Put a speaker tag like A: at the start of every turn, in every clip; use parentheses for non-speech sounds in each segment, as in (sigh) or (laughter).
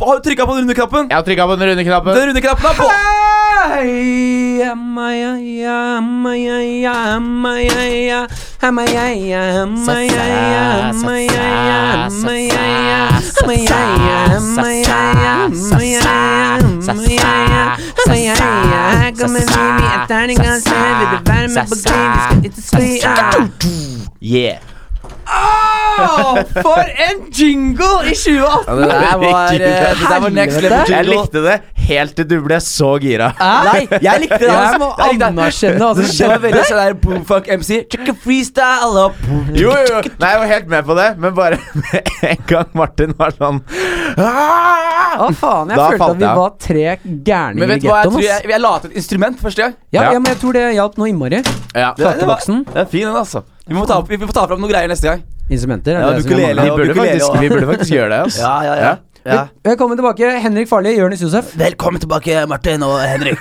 A: Har du trykka på den runde knappen?
B: Jeg har trykka på den runde knappen.
A: Den runde knappen er på! Ah!
B: Yeah.
A: Au, For en jingle i 2018!
C: Det der var, eh, det der var next level
B: Jeg
C: jingle.
B: likte det helt til du ble så gira.
C: Nei, jeg likte det. altså.
A: Jeg
C: som
A: må
C: jeg likte det.
A: anerkjenne hva som
C: Det var veldig sånn der boom fuck MC. Check a freestyle up.
B: Jo, jo, jo. Nei, jeg var helt med på det, men bare (laughs) med en gang Martin var sånn "Ah!"
A: Å, faen. Jeg
B: Da
A: følte
B: falt
A: at vi
B: jeg.
A: var tre
C: Men
A: gærninger i
C: vet du hva, jeg
A: gettoen.
C: tror
A: ass.
C: jeg, jeg la til et instrument første gang.
A: Ja,
B: Ja.
A: ja, men jeg tror det hjalp noe innmari.
B: Ja,
C: Det- det var-
A: Faktaboksen.
B: det er fin, den, altså.
C: Vi må ta, opp- vi får ta fram noen greier neste gang.
A: Instrumenter.
C: Ja,
A: Er det som
C: ukulele.
B: Vi
A: er mange.
C: og
B: burde
C: ukulele
B: faktisk,
C: og-
B: vi burde faktisk gjøre det. Altså.
C: ja.
A: Velkommen tilbake, Henrik Farli, Jonis Josef.
C: Velkommen tilbake, Martin og (laughs) Henrik.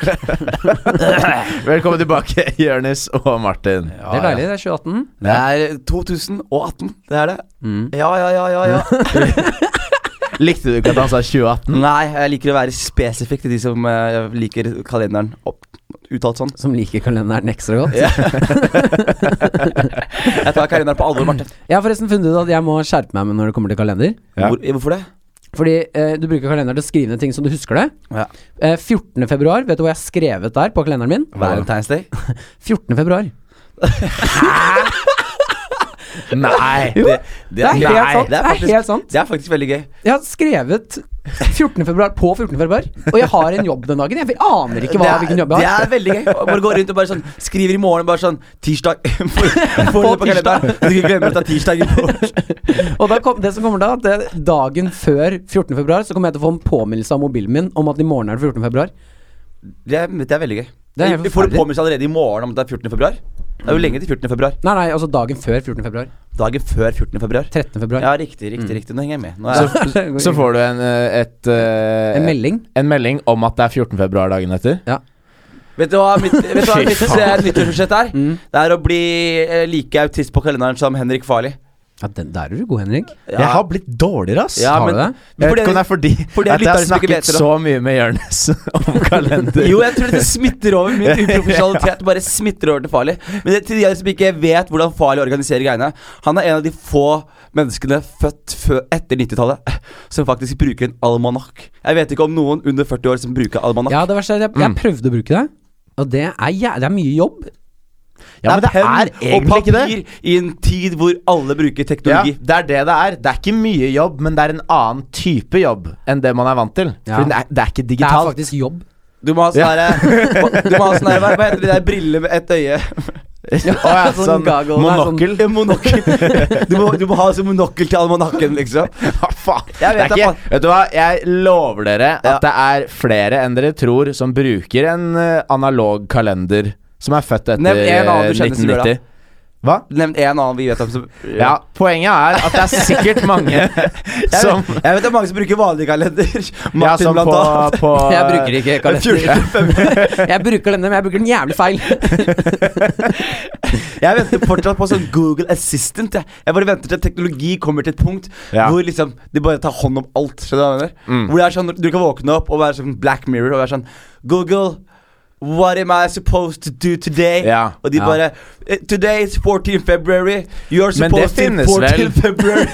B: Velkommen tilbake, (laughs) Jonis og Martin.
A: Det er deilig. Det er 2018.
C: Det er 2018. Det er det. Ja, ja, ja, Mm. ja. ja.
B: Likte du ikke at han sa
C: (laughs)
B: 2018?
C: Nei, jeg liker å være spesifikk til de som eh, liker kalenderen opp, uttalt sånn.
A: Som liker kalenderen ekstra godt.
C: (laughs) Jeg tar kalenderen på alvor, Martin.
A: Jeg har forresten funnet ut at jeg må skjerpe meg med når det kommer til kalender.
B: Ja.
C: Hvor, hvorfor det?
A: Fordi eh, du bruker kalenderen til å skrive ned ting som du husker det.
C: Ja.
A: Eh, 14. februar, vet du hva jeg har skrevet der på kalenderen min?
C: Valentine's Day.
A: 14. februar.
B: Nei!
A: Jo,
C: Det,
A: Det er helt sant.
C: Det er, faktisk,
A: helt sant.
C: det er faktisk veldig gøy.
A: Jeg har skrevet 14. februar på 14. februar, og jeg har en jobb den dagen. Jeg aner ikke hva,
C: det,
A: hvilken
C: er,
A: jobb
C: det
A: jeg har.
C: er veldig gøy. Og Bare gå rundt og bare sånn skriver i morgen bare sånn Tirsdag. (laughs) Får får det på
A: tirsdag.
C: kalenderen. Du skal glemme at det er tirsdag i
A: (laughs)
C: morgen.
A: Og da kom, det som kommer da, at det, dagen før 14. februar, så kommer jeg til å få en påminnelse av mobilen min om at i morgen er det 14. februar.
C: Det er, det er veldig gøy.
A: Det er helt
C: Vi får en
A: forferdelig.
C: påminnelse allerede i morgen om at det er 14. februar. Det er jo lenge til 14. februar.
A: Nei, nei, altså dagen før 14. februar.
C: Dagen før 14. februar.
A: 13. februar.
C: Ja, riktig, riktig.
A: Mm.
C: riktig Nå henger jeg med. Nå er jeg
B: Så,
A: (laughs)
B: så får du en, eh, et, eh,
A: En melding.
B: en melding om at det er 14. februar dagen etter.
C: Vet du hva mitt, vet du hva
B: (laughs) Fy
C: mitt
B: faen.
C: eh, nyttårsforsett er?
A: Mm.
C: Det er å bli eh, like autist på kalenderen som Henrik Farli.
A: Ja, den, der er du god, Henrik.
C: Ja.
B: Jeg har blitt dårligere, ass.
C: Ja,
A: Har
C: men-
A: du det?
B: Jeg vet
C: fordi-
B: ikke om det er (laughs) fordi,
C: fordi
B: at jeg har
C: lytterne som ikke
B: snakket
C: vet det.
B: så mye med Jonis (laughs) om kalender.
C: Jo, jeg tror dette smitter
B: (laughs)
C: over. Min uprofesjonalitet bare smitter over til Farli. Men det, til de som ikke vet hvordan Farli organiserer greiene Han er en av de få menneskene født før, etter 90-tallet (laughs) som faktisk bruker en almanakk. Jeg vet ikke om noen under 40 år som bruker almanakk.
A: Ja, det verste er at jeg,
C: Mm.
A: jeg prøvde å bruke det, og det er, jæ- det er mye jobb.
B: ja, men det
C: penn
B: er egentlig
C: og
B: ikke det.
C: papir i en tid hvor alle bruker
B: Ja,
C: teknologi.
B: det er det det er. Det er ikke mye jobb, men det er en annen type jobb enn det man er vant til.
A: Ja.
B: Fordi det er, det er ikke
A: Det er
B: digitalt.
A: faktisk jobb.
C: Du må ha sånn herre Du må ha sånn herre Hva heter de der briller med ett øye?
A: (laughs)
B: Å ja,
A: sånn
B: sånn
A: goggle, det er sånn-
B: monokkel.
C: (laughs) En monokkel. Du må, du må ha sånn monokkel til almanakken, liksom.
B: (laughs) Hva faen? Det
C: Jeg
B: er
C: vet
B: ikke,
C: at
B: vet du hva, jeg lover dere at
C: Ja.
B: det er flere enn dere tror som bruker en eh, analog kalender som er født etter
C: Nevn en annen
B: eh,
C: du kjenner som gjør
B: 1990.
C: det.
B: Hva?
C: Nevn en annen vi vet om som
B: Ja, poenget er at det er sikkert (laughs) mange
C: Jeg,
B: som
C: vet, jeg vet det er mange som bruker vanlig kalender.
B: Ja,
C: Martin,
B: som
C: blant
B: på,
C: annet. (laughs)
B: på eh,
A: Jeg bruker
B: (laughs)
A: ikke kalender. (laughs) jeg bruker denne, men jeg bruker den
C: (laughs)
A: jævlig feil.
C: Jeg venter fortsatt på sånn Google Assistant. Jeg, jeg bare venter til teknologi kommer til et punkt
B: Ja.
C: hvor liksom de bare tar hånd om alt. Skjønner du hva jeg mener?
B: Mm.
C: Hvor det er sånn, Du kan våkne opp og være sånn Black Mirror og være sånn Google, what am I supposed to do today?
B: Ja,
C: og de
B: ja.
C: bare "Eh, Today is 14 February. You're
B: Men det
C: supposed to
B: finnes
C: 14
B: vel? (laughs)
C: February.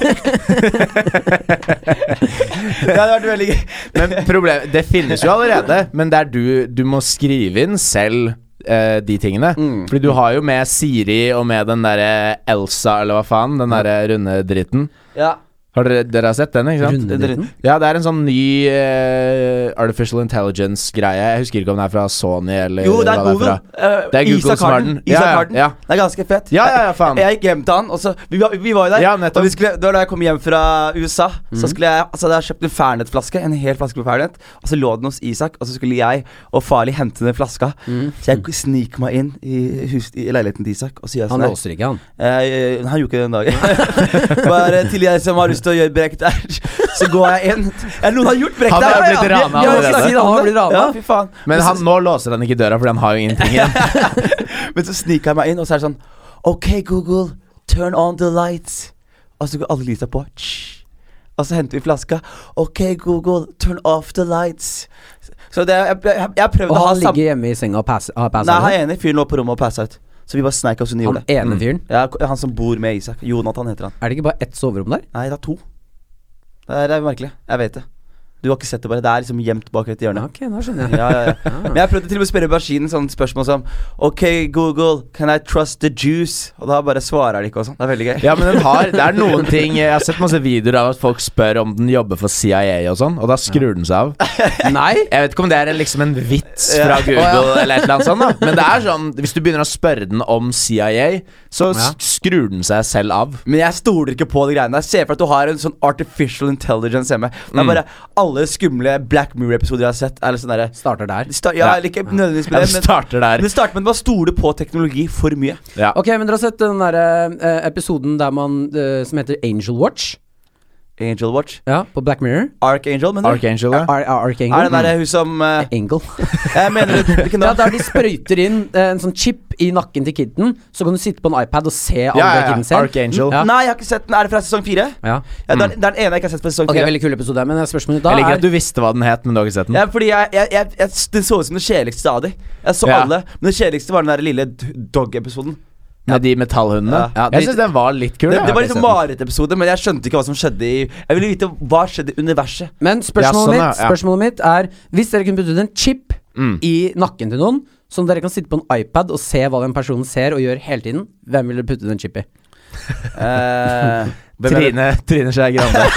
C: det hadde vært veldig gøy.
B: (laughs) Men problem, det finnes jo allerede, men det er du, du må skrive inn selv eh, de tingene.
C: Mm.
B: Fordi du har jo med Siri og med den derre Elsa, eller hva faen, den derre runde dritten.
C: Ja.
B: Har dere, dere har sett den, ikke sant?
A: Runde dritten.
B: Ja, det er en sånn ny eh, artificial intelligence-greie. Jeg husker ikke om den er fra Sony eller
C: Jo, det er
B: hva
C: Google.
B: fra.
C: Eh,
B: Det er Google som har den. Ja,
C: Isak
B: ja,
C: har den.
B: ja.
C: Det er ganske fett.
B: Ja, ja, ja, faen.
C: Jeg gikk hjem til han, og så Vi var, vi var jo der.
B: Ja, nettopp. Mhm.
C: og vi skulle, det var da jeg kom hjem fra USA. Så skulle jeg Så hadde jeg kjøpt en Fernet-flaske, en hel flaske på Fernet, og så lå den hos Isak, og så skulle jeg og Farlig hente den flaska.
A: Mm.
C: Så
B: Mhm.
C: jeg snik meg inn i, hus, i leiligheten til Isak, og så gjør jeg
A: Han
C: sånn her.
A: låser ikke, han.
C: Eh, han gjorde ikke det den dagen. (laughs) Bare til jeg som har lyst til å gjøre brekk der, så går jeg inn. Ja, noen har gjort brekk
B: Han
C: der!
B: har
C: ja, ja,
B: blitt
C: ja. Vi- vi har
B: rana
C: jo
B: allerede.
C: snakket om
A: Han har
C: det.
A: blitt rana.
C: Ja, fy faen.
B: Men han, nå låser han ikke døra, fordi han har jo ingenting igjen.
C: (laughs) Men så sniker jeg meg inn, og så er det sånn OK, Google, turn on the lights. Og så går alle lysa på. Tsj. Og så henter vi flaska. OK, Google, turn off the lights. Så det, jeg, jeg, jeg prøvde
A: Og
C: å ha
A: han
C: sam...
A: ligger hjemme i senga og passer har passet
C: Nei, han Mm. ene
A: det?
C: fyren lå på rommet og passa ut. Så vi bare sneik oss under
A: Han
C: jordet.
A: ene fyren?
C: Ja, han som bor med Isak. Jonathan heter han.
A: Er det ikke bare ett soverom der?
C: Nei, det er to. Det er, det er merkelig. Jeg vet det. Du har ikke sett det, bare. Det er liksom gjemt bak et hjørne.
A: Ok, nå skjønner jeg.
C: Ja, ja, ja. Men jeg prøvde til og med å spørre maskinen sånn spørsmål som OK, Google, can I trust the juice? Og da bare svarer de ikke og sånn. Det er veldig gøy.
B: Ja, men den har, det er noen ting Jeg har sett masse videoer av at folk spør om den jobber for CIA og sånn, og da skrur den seg av.
A: Nei?
B: Jeg vet ikke om det er en- liksom en vits fra Google eller et eller annet sånt, da. Men det er sånn, hvis du begynner å spørre den om CIA, så s-
A: Ja.
B: skrur den seg selv av.
C: Men jeg stoler ikke på de greiene der. Se for deg at du har en sånn artificial intelligence hjemme. Det er bare alle skumle Black Mirror-episoder jeg har sett. Er litt sånn derre
A: Starter der.
C: Sta- Ja,
B: Ja.
C: eller ikke nødvendigvis med
B: Ja,
C: det,
B: den
C: men
B: starter
C: men
B: der.
C: det starter med at man stoler på teknologi for mye.
B: Ja.
A: Ok, men dere har sett den der eh, episoden der man, eh, som heter Angel Watch?
C: Angel Watch.
A: Ja, på Black Mirror.
C: Archangel, mener du?
B: Archangel, ja.
A: Ar Ar Archangel. Mm.
C: Er det der hun som eh,
B: (laughs)
A: Angel.
C: Jeg mener hvilken da?
A: Ja, der de sprøyter inn eh, en sånn chip i nakken til kiden, så kan du sitte på en iPad og se alle
B: ja, ja.
A: kiden ser.
B: Archangel.
A: Ja.
C: Nei, jeg har ikke sett den. Er det fra sesong fire?
A: Ja.
C: Ja, det, er, det er den ene jeg ikke har sett fra sesong
A: Ok,
C: fire.
A: veldig kul episode, men spørsmålet mitt da
B: Jeg liker
A: er
B: at du visste hva den het, men du har ikke sett den.
C: Ja, fordi jeg, jeg, jeg, jeg, Det så ut som det kjedeligste av de. Jeg så
B: Ja.
C: alle, men det kjedeligste var den der lille d- dog-episoden.
B: Med de metallhundene.
A: Ja,
B: Jeg
A: de-
B: syns den var litt kul.
C: Det,
B: ja.
C: det var
B: Jeg
C: liksom
B: har ikke sett den.
C: marerittepisode, men jeg skjønte ikke hva som skjedde i Jeg ville vite hva skjedde i universet.
A: Men
B: Ja,
A: spørsmålet,
B: sånn, ja,
A: mitt,
B: ja. Mm.
A: spørsmålet mitt er Hvis dere kunne putte ut en chip i nakken til noen, som dere kan sitte på en iPad og se hva den personen ser og gjør hele tiden, hvem ville dere putte ut en chip i?
C: Eh, hvem er det?
B: Trine, Trine Skei Grande.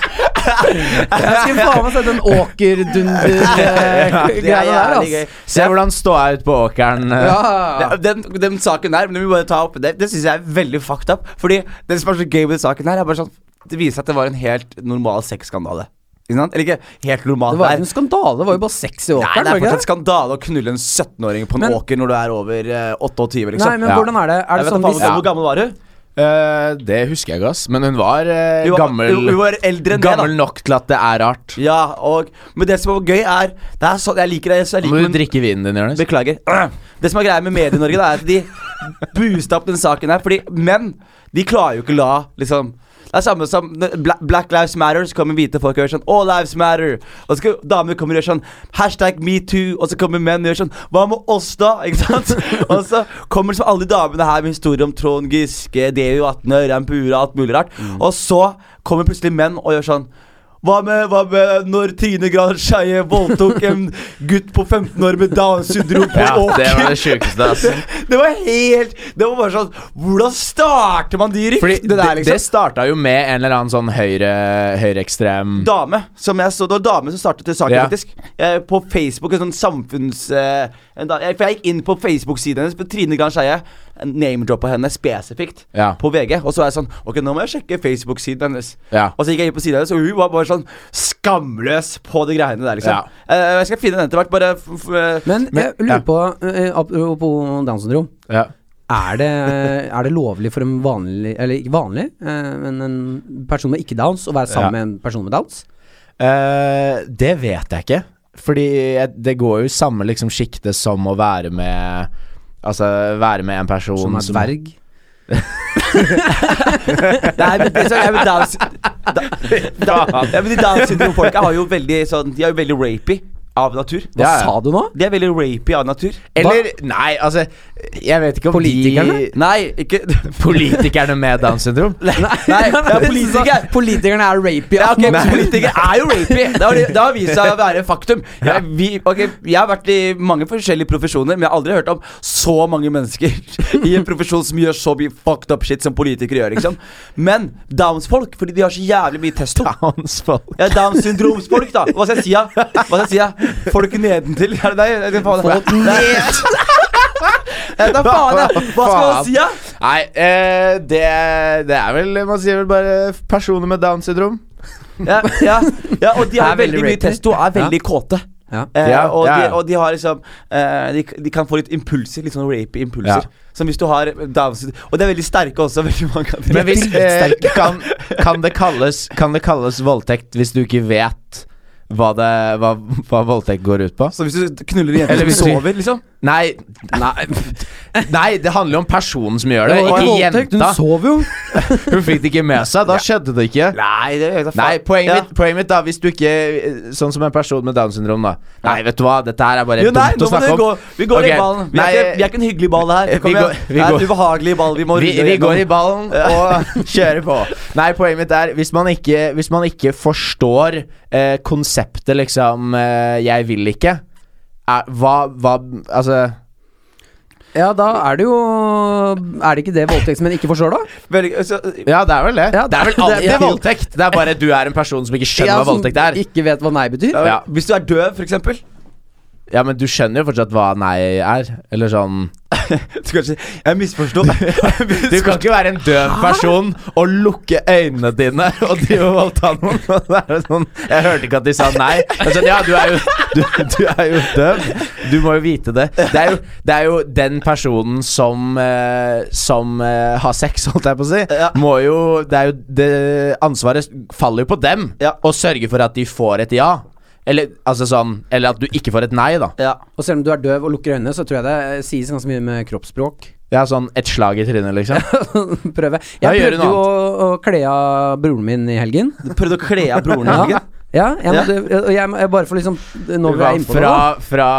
C: (laughs)
A: Jeg skulle faen meg sett en (laughs) åkerdunder-greie
C: Det er
A: der,
C: jævlig gøy.
A: altså.
B: Se hvordan ståa ut på åkeren. eh.
A: Ja.
C: Det- Den, den saken der, men det må vi bare ta opp Det, det syns jeg er veldig fucked up. Fordi det som er så gøy med den saken her, er bare sånn Det viser seg at det var en helt normal sexskandale. Ikke sant? Eller ikke helt normal.
A: Det var
C: det
A: jo
C: er-
A: en skandale, det var jo bare sex i
C: Nei,
A: åkeren.
C: det
A: var
C: er
A: ikke
C: fortsatt skandale å knulle en 17-åring på en
A: Men-
C: åker når du er over eh, 28, liksom.
A: Nei, men
B: Ja.
A: hvordan er det? Er
C: Jeg
A: det
C: vet
A: sånn
C: da faen
A: hvis
C: Hvor gammel var hun?
B: Eh, det husker jeg ikke, ass. Men hun var, eh,
C: Hun var-
B: gammel,
C: hun- hun var eldre enn det, da.
B: gammel nok til at det er rart.
C: Ja, og Men det som er gøy, er Det er sånn Jeg liker det. Så jeg
B: Må
C: liker
B: du drikke vinen din, Jonis?
C: Beklager. (clears throat) Det som er greia med Medie-Norge, da, er at de boosta opp den saken her. Fordi menn, de klarer jo ikke la liksom det er samme som Bla- Black Lives Matter, så kommer hvite folk og gjør sånn All lives matter. Og så skal damer komme og gjøre sånn Hashtag metoo. Og så kommer menn og gjør sånn Hva med oss, da? (laughs) Ikke sant? og så kommer liksom alle de damene her med historier om Trond Giske, DU 18, Ørjan Bure, alt mulig rart. Og så kommer plutselig menn og gjør sånn hva med, hva med når Trine Gran Skeie voldtok en gutt på 15 år med Downs syndrom på
B: Ja,
C: åker?
B: det var det sjukeste, (laughs) ass.
C: Det var helt Det var bare sånn Hvordan starter man de
B: Fordi
C: ryktene der,
B: det,
C: liksom?
B: det starta jo med en eller annen sånn høyre- høyreekstrem
C: dame som jeg så, Det var dame som startet saken,
B: Ja.
C: faktisk. Eh, på Facebook. En sånn samfunns... Eh, en da, jeg, for jeg gikk inn på Facebook-siden hennes. På Trine Gran Skeie. Name-droppa henne spesifikt
B: Ja.
C: på VG. Og så var jeg sånn Ok, nå må jeg sjekke Facebook-siden hennes.
B: Ja.
C: Og så gikk jeg inn på siden hennes, og hun var bare sånn skamløs på de greiene der, liksom.
B: Ja.
C: Eh, jeg skal finne den etter hvert, bare f f
A: Men jeg
B: Men-
A: lurer
B: ja.
A: på, eh, apropos Downs syndrom
B: Ja.
A: er det, eh, er det lovlig for en vanlig, eller ikke vanlig, eh, men en person med ikke downs å være sammen
B: Ja.
A: med en person med downs?
B: Eh, det vet jeg ikke. Fordi jeg, det går jo i samme liksom sjikte som å være med Altså være med en person
A: Som er dverg? (laughs)
C: Nei, men det, så, jeg, men Downs da, da, ja, men de Downs syndrom-folka har jo veldig sånn De er jo veldig rapy av natur.
A: Hva
B: Ja, ja.
A: sa du nå?
C: De er veldig rapy av natur.
B: Eller Nei, altså Jeg vet ikke om
A: Politikerne?
B: de
C: Nei, ikke
B: (laughs)
C: (laughs)
B: Politikerne med Downs (laughs) syndrom?
A: (laughs)
C: Nei, det er politiker.
A: sånn- Politikerne er rapy.
C: Ja, ok,
A: men-
C: men Politikere er jo rapy! Det har, det har vist seg å være faktum. Jeg, vi, ok, jeg har vært i mange forskjellige profesjoner, men jeg har aldri hørt om så mange mennesker (laughs) i en profesjon som gjør så mye fucked up shit som politikere gjør. liksom Men Downs-folk, fordi de har så jævlig mye testo.
B: Hans folk.
C: Ja, Downs syndromsfolk, da. Hva skal jeg si, da? Hva skal jeg si, da? Folk nedentil? Er det deg? Eller faen?
A: Folk
C: ned. Da faen, jeg. Hva skal man si, da?
B: Nei, eh, det, det er vel Man sier vel bare personer med Downs syndrom.
C: Ja, ja, ja, og de har
A: Det er veldig
C: veldig mye
A: rapey.
C: testo og er veldig kåte.
A: Ja.
C: Eh,
B: Ja,
C: og,
B: ja.
C: De, og de har liksom eh, de, de kan få litt impulser, litt sånn rapey impulser.
B: Ja.
C: Som hvis du har Downs Og de er veldig sterke også, (laughs) veldig mange av
B: Men
C: dem.
B: hvis, eh, kan, kan, det kalles, kan det kalles voldtekt hvis du ikke vet hva, det, hva, hva voldtekt går ut på?
C: Så hvis du knuller en jente
B: Eller hvis
C: som
B: du-
C: sover, liksom
B: Nei, (laughs)
A: Nei,
B: nei, det handler jo om personen som gjør det,
A: det var
B: ikke
A: ikke voldtekt. Hun
B: jenta.
A: sov jo.
B: Hun fikk det ikke med seg. Da skjedde det ikke.
C: Nei, det er jo
B: Nei, poenget, mitt, poenget mitt, da, hvis du ikke Sånn som en person med Downs syndrom, da. Nei, vet du hva, dette her er bare
C: Jo, nei,
B: dumt
C: nå må
B: å snakke
C: du
B: om.
C: gå. Vi går
B: Ok,
C: i ballen. Vi,
B: nei,
C: er ikke, vi er ikke en hyggelig ball her.
B: vi
C: Kom
B: går-
C: igjen. Det
B: vi
C: er
B: går.
C: en ubehagelig ball vi må
B: vi,
C: rulle
B: vi
C: gjennom.
B: går i ballen og (laughs) kjører på. Nei, poenget mitt er Hvis man ikke, hvis man ikke forstår eh, konseptet liksom eh, 'jeg vil ikke', er, hva, hva Altså
A: Ja, da er det jo Er det ikke det voldtektsmenn ikke forstår, da?
C: Veldig, så,
B: Ja, det er vel det.
A: Ja,
B: det altså, er vel alltid
A: det- ja.
B: voldtekt. Det er bare du er en person som ikke skjønner
A: Ja,
B: hva
A: som
B: voldtekt er.
A: Ikke vet hva nei betyr.
B: Ja.
C: Hvis du er døv, for eksempel (laughs)
B: Ja, men du skjønner jo fortsatt hva nei er. Eller sånn
C: Du kan si 'Jeg
B: (laughs)
C: misforsto'. (laughs)
B: Du kan ikke være en døv person og lukke øynene dine og drive og voldta noen. (laughs) Og det er jo sånn, jeg hørte ikke at de sa nei. Men sånn, ja, du er, jo, du, du er jo døv. Du må jo vite det. Det er jo, det er jo den personen som, eh, som eh, har sex, holdt jeg på å si,
C: Ja.
B: må jo Det er jo det, Ansvaret faller jo på dem
C: Ja.
B: å sørge for at de får et ja. Eller, altså sånn, eller at du ikke får et nei, da.
C: ja.
A: Og selv om du er døv og lukker øynene, så tror jeg det eh, sies ganske mye med kroppsspråk. (laughs)
B: Ja, sånn et slag i trynet, liksom.
A: Prøve.
B: Ja,
A: Jeg
B: gjør du
A: prøvde
B: noe
A: jo å, å kle av broren min i helgen.
C: Du prøvde å kle av broren din.
A: Ja,
C: ikke?
A: ja jeg
C: Ja.
A: måtte, og jeg, jeg bare for liksom Nå vil jeg
B: Hva,
A: innpå det. da.
B: fra, fra,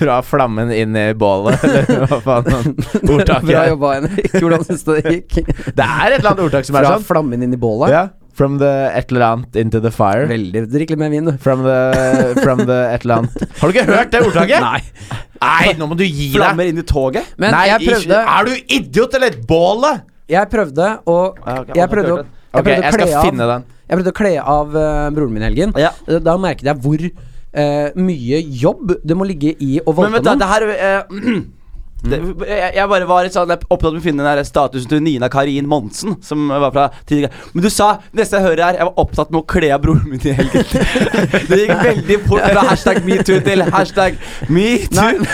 B: fra flammen inn i bålet, (laughs) eller hva faen
A: (laughs)
B: han- ordtaket
A: Bra
B: er. (laughs)
A: jobba, Henrik. Hvordan syns du det gikk?
B: Det er et eller annet ordtak som er
A: Fra
B: sånn.
A: flammen inn i bålet.
B: Ja. From the et eller annet into the fire.
A: Veldig Drikk litt mer vin, du.
B: From the, from the et eller annet Har du ikke hørt det ordtaket?
A: Nei.
B: Nei, nå må du gi deg!
C: Flammer inn i toget.
A: Men
B: Nei,
A: jeg
B: ikke-
A: prøvde
B: Er du idiot, eller? Bålet!
A: Jeg prøvde å
C: Ja, ok,
A: Jeg prøvde å
C: jeg
A: jeg
B: Ah, Ok, jeg
A: prøvde å
B: skal
A: kle av
B: finne den.
A: Jeg prøvde å kle av eh, broren min i helgen.
C: Ja.
A: Da- Da merket jeg hvor eh, mye jobb det må ligge i å
C: Men
A: voldta
C: vet du,
A: noen.
C: det her eh, (clears throat) det,
B: Mm.
C: jeg, jeg bare var litt sånn jeg er opptatt med å finne den her statusen til Nina Karin Monsen. Som var fra tidligere Men du sa neste jeg hører her Jeg var opptatt med å kle av broren min i helgen. (laughs) Det gikk veldig fort fra hashtag metoo til hashtag metoo.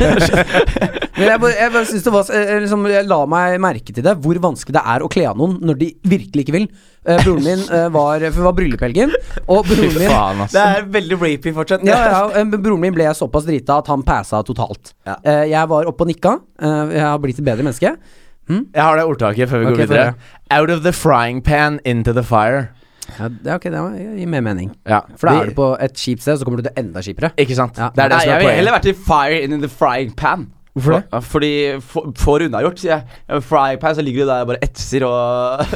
A: Men jeg bare, jeg bare synes det var så- eh, liksom, Jeg la meg merke til det hvor vanskelig det er å kle av noen når de virkelig ikke vil. Eh, broren min eh, var For det var bryllup i helgen, og
B: Fy
A: broren min
B: faen, ass.
C: Det er veldig rapey fortsatt.
A: ja, ja, eh, men Broren min ble såpass drita at han passa totalt.
C: Ja.
A: Eh, jeg var oppe og nikka. Eh, jeg har blitt et bedre menneske.
B: Jeg har det ordtaket før vi
A: Ok,
B: går
A: få
B: videre. Out of the frying pan into the fire.
A: Ja, det, er ok, det var- gir mer mening.
B: Ja,
A: For da er
B: det-
A: du på et kjipt sted, så kommer du til enda kjipere.
B: Ikke sant?
A: Ja.
B: Det er
C: Nei,
B: det som
C: jeg
B: er
C: ville heller
B: poenget.
C: vært i fire in the frying pan.
B: Hvorfor det?
C: Ja, Fordi for, for unnagjort, sier jeg. Ja, men Frying pan, så ligger du der og bare etser og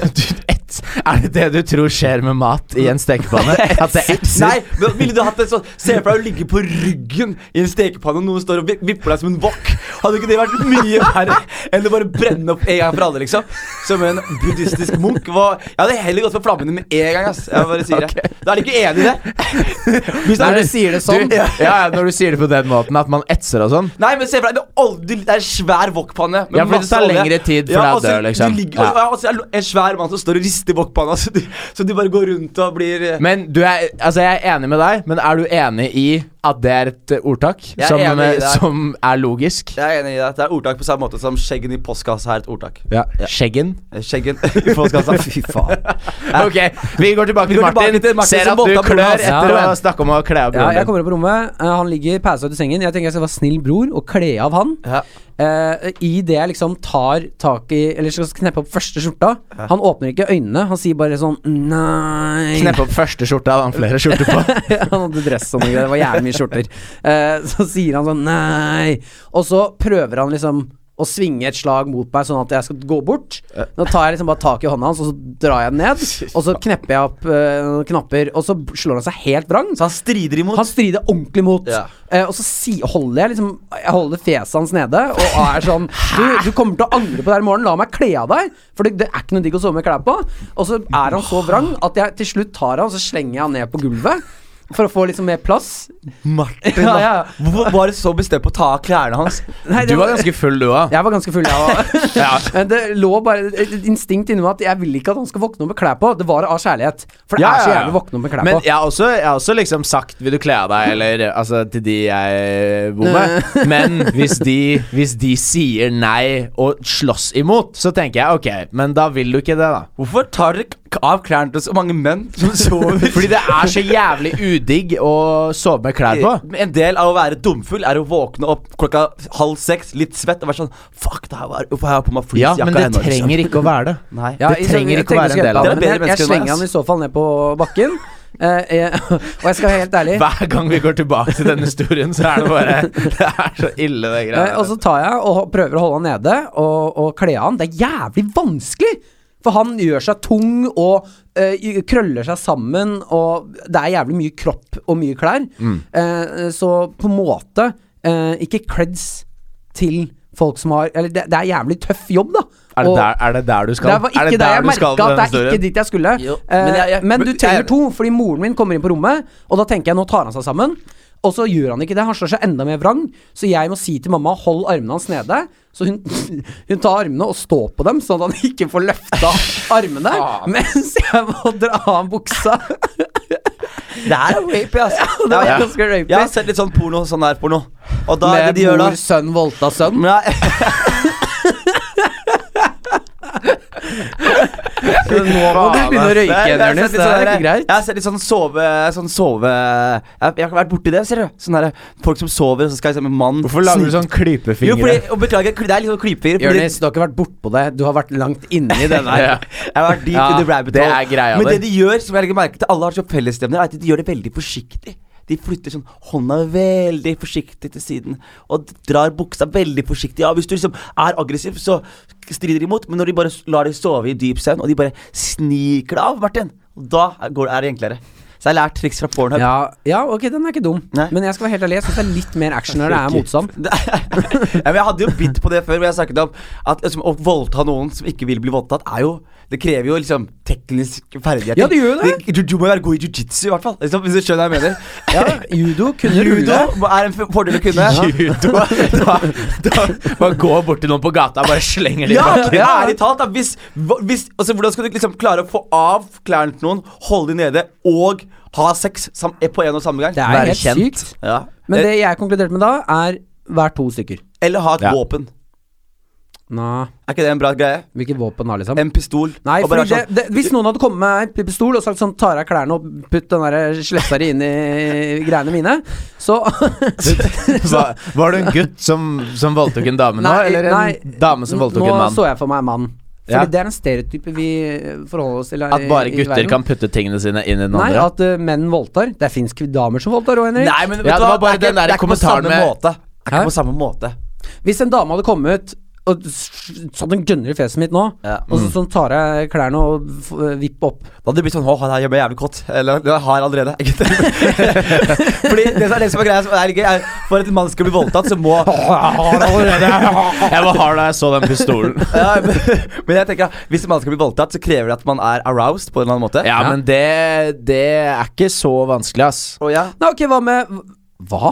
C: (laughs)
B: Du, et, er det det du tror skjer med mat i en stekepanne? At det etser?
C: Nei, men ville du hatt en sånn Se for deg å ligge på ryggen i en stekepanne, og noen står og vi- vipper deg som en wok. Hadde ikke det vært mye verre enn å bare brenne opp en gang for alle, liksom? Som en buddhistisk munk. Hva, jeg hadde heller gått for flammene med en gang, ass. Jeg bare sier det. Da er du ikke enig i det? Hvis
A: Når
C: det
A: du
C: er-
A: sier det sånn
B: Du, (laughs) ja, ja, når du sier det på den måten, at man etser og sånn.
C: Nei, men se for deg, det er, aldri, det er en svær wokpanne. med
B: Ja, for det
C: masse
B: tar
C: olje.
B: lengre tid for deg å
C: og så
B: dø, liksom.
C: Du ligger, og, og så er det en svær mann som står og rister wokpanna, (laughs) så, du- så du bare går rundt og blir eh,
B: Men du er, altså Jeg er enig med deg, men er du enig i at det er et eh, ordtak
C: er
B: som,
C: enig i
B: eh,
C: det.
B: som er logisk?
C: Jeg er enig i deg. Det er ordtak på samme måte som skjeggen i postkassa er et ordtak.
B: Ja. Skjeggen.
C: Eh, Skjeggen (laughs) i postkassa. Fy faen.
B: Ok, vi går tilbake til
C: går tilbake
B: Martin.
C: til Martin
B: Ser
C: som
B: at du
C: voldtar broren
B: klør
C: hans.
B: etter
A: Ja.
B: å snakke om å kle av
A: Ja, jeg
B: broren din.
A: kommer opp på rommet. eh, han ligger pæsa ut i sengen. Jeg tenker jeg skal være snill bror og kle av han.
C: Ja.
A: Eh, I det jeg liksom tar tak i Eller skal kneppe opp første skjorta. Han åpner ikke øynene. Han sier bare sånn Nei. (laughs)
B: Knepp opp første skjorta, hadde han flere skjorter på.
A: han hadde dress og noe greier. Det var jævlig mye skjorter. Eh, så sier han sånn nei. Og så prøver han liksom å svinge et slag mot meg, sånn at jeg skal gå bort. Nå tar jeg liksom bare tak i hånda hans, og så drar jeg den
B: (laughs)
A: ned. Og så knepper jeg opp eh, noen knapper, og så b- slår han seg helt vrang.
C: Så han strider imot.
A: Han strider ordentlig mot.
C: Ja.
A: Eh, og så si, holder jeg liksom Jeg holder fjeset hans nede og er sånn du, du kommer til å angre på det her i morgen. La meg kle av deg. For det, det er ikke noe digg å sove med klær på. Og så er han så vrang at jeg til slutt tar han og så slenger jeg han ned på gulvet. For å få liksom mer plass.
B: (laughs)
C: Martin,
A: Ja,
C: da.
A: ja.
C: Hvorfor var du så bestemt på å ta av klærne hans?
A: Nei, det
B: Du var ganske full, du òg.
A: jeg var ganske full, jeg
B: (laughs)
A: òg.
B: Ja.
A: Men Det lå bare et et instinkt inni meg at jeg vil ikke at han skal våkne opp med klær på. Det var av kjærlighet. For det
B: Ja,
A: er
B: ja,
A: så
B: ja.
A: jævlig å våkne opp med klær
B: Men
A: på.
B: jeg har, også, jeg har også liksom sagt 'vil du kle av deg', eller altså til de jeg bor
A: (laughs)
B: med. Men hvis de, hvis de sier nei og slåss imot, så tenker jeg ok, men da vil du ikke det, da.
A: (laughs)
C: Hvorfor tar dere ikke av klærne til så mange menn som sover.
B: Fordi det (laughs) er så jævlig udigg å sove med klær på.
C: En del av å være dumfull er å våkne opp klokka halv seks, litt svett, og være sånn Fuck, det her var, hvorfor har jeg på meg
B: Ja,
C: fleecejakka
B: men det
C: ennå, liksom?»
B: trenger ikke å være
A: (laughs)
B: det.
C: Nei.
A: Ja,
B: Det
A: jeg-
B: trenger
A: jeg
B: ikke å
A: tenker
B: være en
A: skal
B: del av
A: hjelpe
C: det.
A: deg, men
C: Dere er
A: Jeg,
C: bedre mennesker
A: jeg
C: enn meg,
A: slenger han i så fall ned på bakken. Eh, jeg, (laughs) og jeg skal være helt ærlig.
B: Hver gang vi går tilbake til denne historien, så er det bare (laughs) Det er så ille, det greia.
A: Eh, og så tar jeg og prøver å holde han nede og, og kle av han. Det er jævlig vanskelig! For han gjør seg tung og eh, i- krøller seg sammen, og det er jævlig mye kropp og mye klær. Eh, så på en måte eh, Ikke creds til folk som har Eller det, det er jævlig tøff jobb, da.
B: Er det,
A: Og-
B: der, er det der du skal?
A: Det var ikke
B: er
A: det,
B: det der
A: jeg
B: du
A: merka
B: skal med denne
A: at det er ikke
B: historien?
A: dit jeg skulle.
C: Jo,
A: Eh,
C: men jeg- jeg-
A: men du
C: jeg-
A: trenger to, fordi moren min kommer inn på rommet, og da tenker jeg nå tar han seg sammen. Og så gjør han ikke det, han slår seg enda mer vrang, så jeg må si til mamma hold armene hans nede. Så hun, (laughs) hun tar armene og står på dem, sånn at han ikke får
C: (laughs)
A: løfta armene mens jeg må dra av buksa.
C: Det er rapey, ass.
A: det var ganske rapey.
C: Jeg har sett litt sånn porno, sånn der porno. Og da er det
A: Med
C: de gjør da Mm.
A: mor, sønn, voldta sønn.
C: Nei.
A: Så nå må du
B: altså.
A: begynne å
C: Nei,
A: røyke
C: jeg
A: igjen,
C: har sett
A: Jonis.
C: litt
A: Det
C: sånn
A: er
C: der-
A: ikke greit.
C: Jeg har sett litt sånn sove... Sånn sove Jeg, jeg har vært borti det, ser du. Sånn der, folk som sover, og så skal liksom en mann
B: Hvorfor lager du
C: snike-
B: sånn klypefingre?
C: Jo, fordi, og Beklager, det er litt sånn klypefingre. fordi-
A: Jonis, du har ikke vært bortpå det, du har vært langt inni
C: (laughs)
A: det der.
B: Ja.
C: Jeg har vært deep
B: Ja,
C: in the rabbit
B: det
C: hole.
B: er greia
C: Men
B: der.
C: det de gjør, som jeg legger merke til, alle har så fellesstevner, er at de gjør det veldig forsiktig. De flytter sånn hånda veldig forsiktig til siden og drar buksa veldig forsiktig av. Hvis du liksom er aggressiv, så strider de imot, men når de bare s- lar deg sove i dyp søvn, og de bare sniker deg av, Martin, da går, er det enklere. Så jeg har lært triks fra Pornhub.
A: Ja, ja, ok, den er ikke dum.
C: Nei.
A: Men jeg skal være helt ærlig, jeg syns det er litt mer action når det er
C: (laughs)
B: (laughs)
A: motstand.
C: Det- ja, men jeg hadde jo bitt på det før, hvor jeg snakket om at liksom, å voldta noen som ikke vil bli voldtatt, er jo Det krever jo liksom tekniske ferdigheter.
A: Ja, det gjør jo det.
C: Du, du må være god i jiu-jitsu, i hvert fall. Liksom, hvis du skjønner hva jeg mener.
A: Ja, (laughs) judo kunne
C: Judo
A: rulle.
C: er en f- fordel å kunne. (laughs)
B: Judo. Da, (laughs) da, bare gå bort til noen på gata og bare slenger dem
C: Ja,
B: bak.
C: ja, ærlig talt, da. Hvis, hva- hvis, altså, hvordan skal du liksom klare å få av klærne til noen, holde dem nede og ha sex sam eh, på en og samme gang?
A: Det er
B: Være
A: helt
B: kjent. Eh,
A: sykt.
C: ja.
A: Men det jeg konkluderte med da, er hver to stykker.
C: Eh, Eller ha et
B: Ja.
C: våpen.
A: Nei,
C: Er ikke det en bra greie?
A: hvilket våpen da, liksom?
C: En pistol.
A: Nei,
C: og bare
A: fordi det,
C: være sånn-
A: det, Hvis noen hadde kommet med en pistol og sagt sånn Tar av klærne og putt den der slefsa di inn i greiene mine, (laughs)
B: (laughs)
A: så
B: Var, var du en gutt som, som voldtok en dame nå,
A: Nei,
B: eller en
A: nei,
B: dame som voldtok
A: Nå
B: en mann?
A: så jeg for meg en mann. Fordi
B: Ja.
A: det er en stereotype vi forholder oss til her
B: At bare
A: i- i
B: gutter
A: verden.
B: kan putte tingene sine inn i den
A: Nei,
B: andre?
A: at eh, menn voldtar. Det fins damer som voldtar òg, Henrik.
C: Nei, men vet
B: Ja,
C: du
B: det
C: hva,
B: var bare
C: det er ikke,
B: den der
C: det er ikke på
B: kommentaren
C: samme
B: med-
C: måte. Det er
A: Hæ?
C: ikke på samme måte.
A: Hvis en dame hadde kommet og s- sånn den gønner i fjeset mitt nå,
C: Ja.
A: og så sånn tar jeg klærne og f- vipper opp
C: Da hadde det blitt sånn 'Å, han her gjør meg jævlig kåt'. Eller 'Det har jeg allerede'. (laughs) Fordi det som er, det som er greia, som er gøy, er for at en mann skal bli voldtatt, så
B: (laughs)
C: må
B: Ah, Jeg var hard da jeg så den pistolen.
A: (laughs)
C: ja, men, men jeg tenker at hvis en mann skal bli voldtatt, så krever det at man er aroused på en eller annen måte.
B: Ja, men det, det er ikke så vanskelig, ass.
C: Og ja.
A: Nei, ok, hva med Hva?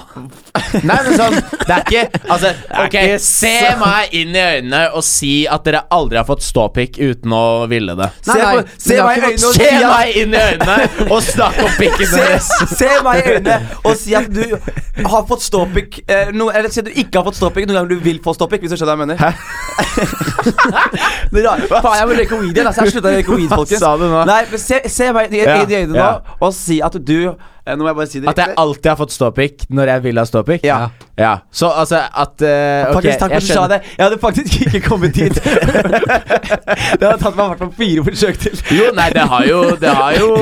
B: Nei, men sånn Det er ikke Altså, ok, se meg inn i øynene og si at dere aldri har fått ståpikk uten å ville det.
A: Nei,
C: se,
A: nei,
C: på, se
A: men jeg
C: meg i
A: har
C: øynene og
A: ikke
B: Se
C: si at-
B: meg inn i øynene og snakk om pikken deres.
C: Se, se meg i øynene og si at du har fått ståpikk eh, no, Eller si at du ikke har fått ståpikk noen gang du vil få ståpikk, hvis du skjønner hva jeg mener. (laughs) Det er rart. Faen, jeg må røyke weed igjen. Altså, jeg slutta å røyke weed,
B: Hva
C: folkens.
B: sa du nå?
C: Nei, men se, se meg i, i,
B: Ja,
C: i øynene
B: ja.
C: nå og si at du eh, Nå må jeg bare si det
B: At jeg alltid har fått ståpikk når jeg vil ha ståpikk?
C: Ja.
B: ja. Så altså at eh, ok,
C: Faktisk, takk for
B: jeg
C: at du sa
B: skjønner.
C: det. Jeg hadde faktisk ikke kommet (laughs) dit. det hadde tatt meg i hvert fall fire forsøk til.
B: Jo, nei, det har jo Det har jo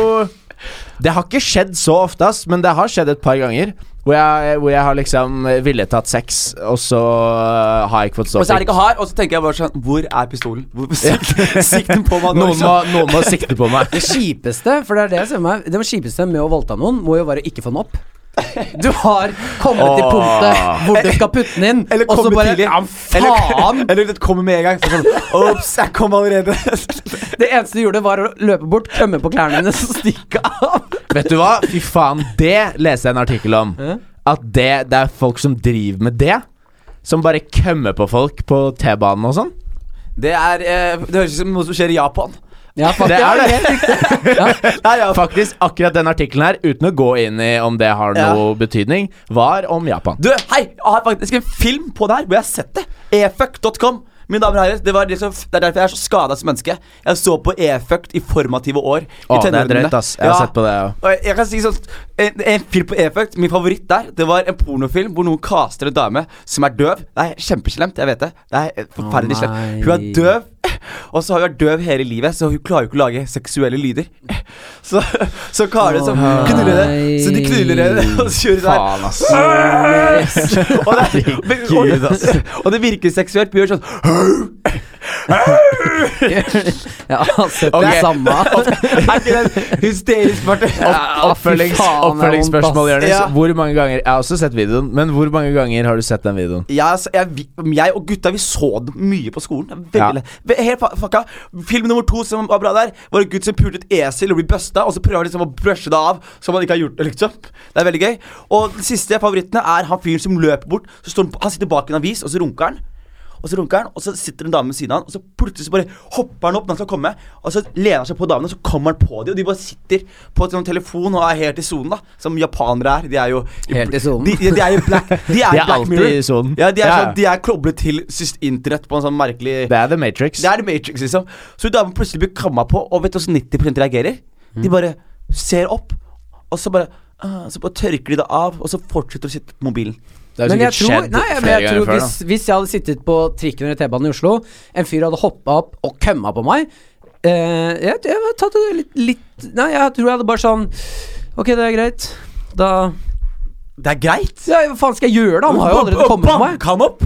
B: Det har ikke skjedd så ofte, ass, men det har skjedd et par ganger. Hvor jeg, hvor jeg har liksom villet hatt sex, og så eh, har jeg ikke fått
C: Og så er
B: ståpikk.
C: det ikke hard, og så tenker jeg bare sånn Hvor er pistolen? Hvor sikt, sikten på meg nå?
B: Noen må,
C: liksom?
B: noen må sikte på meg.
A: Det kjipeste for det er det jeg ser for meg Det kjipeste med å voldta noen, må jo være å ikke få den opp. Du har kommet til
B: Åh.
A: punktet hvor du skal putte den inn,
C: Eller
A: og så
C: komme
A: bare
C: tidlig.
A: Ja, faen!
C: Eller, eller det kommer med en gang. så Sånn, Ops, jeg kom allerede. Nei,
A: Det eneste du gjorde, var å løpe bort, klemme på klærne dine og stikke av.
B: Vet du hva? Fy faen, det leste jeg en artikkel om. At det, det er folk som driver med det. Som bare kømmer på folk på T-banen og sånn.
C: Det er eh, Det høres ut som noe som skjer i Japan.
A: Ja, fuck,
B: Det er det.
A: helt riktig. Ja.
C: Nei, ja.
B: Faktisk, akkurat den artikkelen her, uten å gå inn i om det har
C: Ja.
B: noe betydning, var om Japan.
C: Du, hei! Jeg har faktisk en film på det her hvor jeg har sett det. Efuck.com. Mine damer og herrer, det, var det, som, det er derfor jeg er så skada som menneske. Jeg så på E-Fucked i formative år.
B: Å,
C: i
B: det er
C: tenårene.
B: drøyt, ass. Jeg har sett på det, ja.
C: Og jeg, jeg kan si sånn En, en film på E-Fucked, min favoritt der, det var en pornofilm hvor noen kaster en dame som er døv. Det er kjempeslemt, jeg vet det. Det er forferdelig
A: Å,
C: slemt. Hun er
A: nei.
C: døv. Og så har hun vært døv hele livet, så hun klarer jo ikke å lage seksuelle lyder. (laughs) Så, så karer som
A: Å,
C: knuller henne, så de knuller henne
A: nei.
C: og så gjør hun sånn her.
B: Faen, ass.
C: (laughs) Og det, og, det, og det virker seksuelt. Vi gjør sånn
A: Jeg har sett
B: Ok.
A: det samme.
C: Er ikke den hysterisk, Martin?
A: Ja,
B: Oppfølgings,
A: fy faen, det er vondt,
B: oppfølgingsspørsmål,
A: ass.
B: Jonis.
C: Ja.
B: Hvor mange ganger Jeg har også sett videoen, men hvor mange ganger har du sett den videoen?
C: Jeg, altså, jeg, vi- jeg og gutta vi så det mye på skolen. Det er
B: Ja.
C: Veldig lett. Helt fa- fucka Film nummer to som var bra der, var en gutt som pulte et esel og blir busta, og så prøver han liksom å brushe det av som han ikke har gjort det, liksom. Det er veldig gøy. Og den siste favorittene er han fyren som løper bort. Så står han, han sitter bak en avis, og så runker han. Og så runker han, og så sitter en dame ved siden av han, og så plutselig så bare hopper han opp når han skal komme, og så lener han seg på damene, og så kommer han på dem, og de bare sitter på en sånn telefon og er helt i sonen, da. Som japanere er. De er jo
A: Helt i sonen.
C: De, de er jo black,
A: (laughs)
C: de er i
B: De er
C: Black
B: alltid
C: Mirror.
B: i sonen.
C: Ja, de er,
B: Ja, ja.
C: Sånn, de er koblet til syst- internett på en sånn merkelig
B: Det er The Matrix.
C: Det er The Matrix, liksom. Så damen plutselig blir kramma på, og vet du hvordan 90 reagerer? De
A: Mm.
C: bare ser opp, og så bare ah, så bare tørker de det av, og så fortsetter de å sitte på mobilen.
B: Det har
A: Men jeg
B: sikkert
A: tror,
B: skjedd
A: nei, men
B: flere
A: jeg
B: ganger
A: tror
B: før,
A: hvis, hvis jeg hadde sittet på trikken eller T-banen i Oslo, en fyr hadde hoppa opp og kømma på meg eh, jeg, jeg hadde tatt det litt, litt Nei, jeg tror jeg hadde bare sånn Ok, det er greit. Da
C: Det er greit.
A: ja, Hva faen skal jeg gjøre, da? Han har jo allerede kommet på meg.
C: Bank han opp!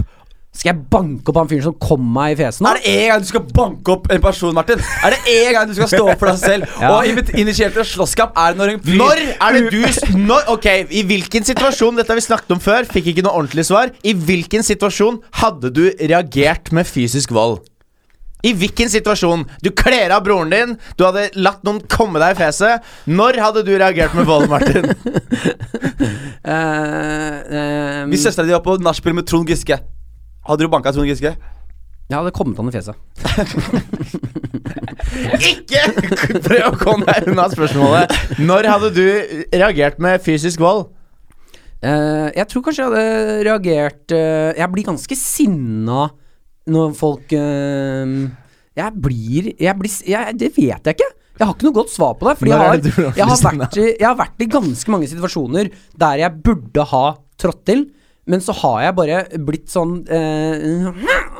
A: Skal jeg banke opp han fyren som kom meg i fjeset nå?
C: Er det én gang du skal banke opp en person, Martin? Er det én gang du skal stå opp for deg selv?
A: (laughs) Ja.
C: Og invit- initiert til slåsskamp er det når en
B: da.
C: fyr
B: Når er det du s- når, Ok, I hvilken situasjon Dette har vi snakket om før, fikk ikke noe ordentlig svar. I hvilken situasjon hadde du reagert med fysisk vold? I hvilken situasjon? Du kler av broren din, du hadde latt noen komme deg i fjeset. Når hadde du reagert med vold, Martin?
A: Eh, eh,
C: Hvis søstera di var på nachspiel med Trond Giske, hadde du banka Trond Giske?
A: Jeg hadde kommet han i fjeset.
B: Ikke prøv å komme deg unna spørsmålet. Når hadde du reagert med fysisk vold?
A: Eh, jeg tror kanskje jeg hadde reagert eh, Jeg blir ganske sinna når folk eh, Jeg blir, jeg blir s- jeg, Det vet jeg ikke. Jeg har ikke noe godt svar på det. Fordi
B: Når
A: jeg
B: er
A: har,
B: det du blir
A: jeg, har
B: sinna?
A: vært i, jeg har vært i ganske mange situasjoner der jeg burde ha trådt til. Men så har jeg bare blitt sånn eh,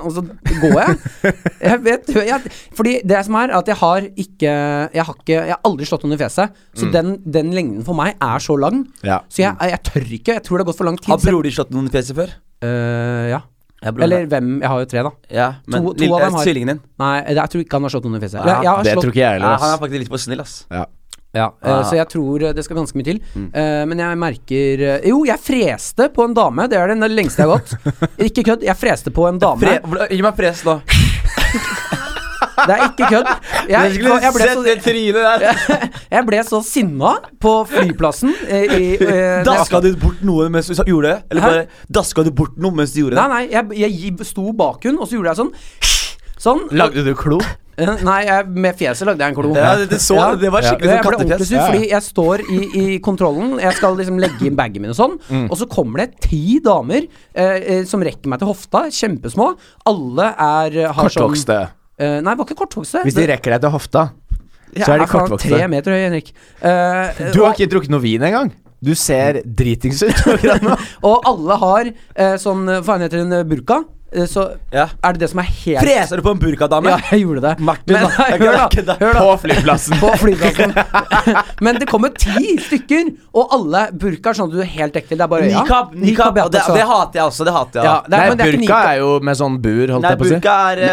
A: Og så går
B: (laughs)
A: jeg. Jeg vet jeg, Fordi det som er, at jeg har ikke Jeg har, ikke, jeg har aldri slått noen i fjeset. Så den, den lengden for meg er så lang.
B: Mm. Ja.
A: Så jeg, jeg tør ikke. Jeg tror det har gått for lang tid.
C: Har
A: så jeg-
C: broren din slått noen i fjeset før?
A: Øh, ja.
C: Ja, broren
A: Eller hvem Jeg har jo tre, da.
C: Ja, men
A: To- to
C: lille-
A: av dem har-
C: tvillingen din. Ah,
A: Nei, det- jeg tror ikke han har slått noen i fjeset.
C: Ja,
A: Jeg- jeg har
B: Det
A: slått-
B: tror ikke jeg
C: Ja,
B: heller.
C: han er
B: ass.
C: faktisk litt for snill, ass.
B: Ja.
A: Ja,
C: Ah.
A: øh, Så jeg tror øh, det skal ganske mye til.
C: Mm.
A: Øh, men jeg merker øh, Jo, jeg freste på en dame. Det er den lengste jeg har
C: (laughs)
A: gått. Ikke kødd. Jeg freste på en dame.
C: Fre Hvordan- Gi meg fres nå.
A: Det er ikke kødd.
C: (laughs)
A: Jeg, jeg,
C: skulle
A: ble
C: sett det
A: så,
C: trynet der.
A: jeg ble så sinna på flyplassen eh, i eh,
C: Daska du bort noe mens du sa- gjorde det? Eller
A: Hæ?
C: bare daska du bort noe mens du gjorde
A: Nei,
C: det?
A: nei. Jeg, jeg gi- sto bak hun, og så gjorde jeg sånn. Sånn.
B: Lagde du klo?
A: Eh, Nei, jeg, med fjeset lagde jeg en klo.
C: Ja, det, det, så,
A: Ja.
C: det var skikkelig
A: Jeg
C: sånn
A: ble ordentlig
C: kattefjes.
A: sur
B: ja.
A: fordi jeg står i, i kontrollen. Jeg skal liksom legge inn bagen min og sånn.
B: Mm.
A: Og så kommer det ti damer eh, eh, som rekker meg til hofta. Kjempesmå. Alle er eh, har sånn
B: Kortvokste.
A: eh, Nei, det var ikke kortvokste.
B: Hvis de rekker deg til hofta, så er de kortvokste.
A: Tre meter høy, Henrik. Eh,
B: Du har
A: og,
B: ikke drukket noe vin engang. Du ser dritings ut. akkurat nå.
A: (laughs) og alle har eh, sånn eh, Hva faen heter den? eh, Burka? Eh, så
C: Ja.
A: er det det som er helt
C: Fresa du på en burkadame?
A: Ja,
C: (laughs)
A: jeg gjorde det.
C: Martin,
A: Men- (laughs)
C: da. Jeg
A: hør da,
C: kan ikke det.
A: hør da.
B: På flyplassen.
A: på
C: (laughs)
A: flyplassen. (laughs) Men det kommer ti stykker, og alle burka er sånn at du er helt ekte. Det er bare øya.
C: Nikab. nikab.
A: ja,
C: Og det,
A: altså.
C: det hater jeg også. Det hater jeg.
A: Ja, det er-
B: Nei,
A: men det er ikke
B: burka
A: nikab.
B: er jo med sånn bur, holdt
C: Nei,
B: jeg på å si.
C: burka er (laughs)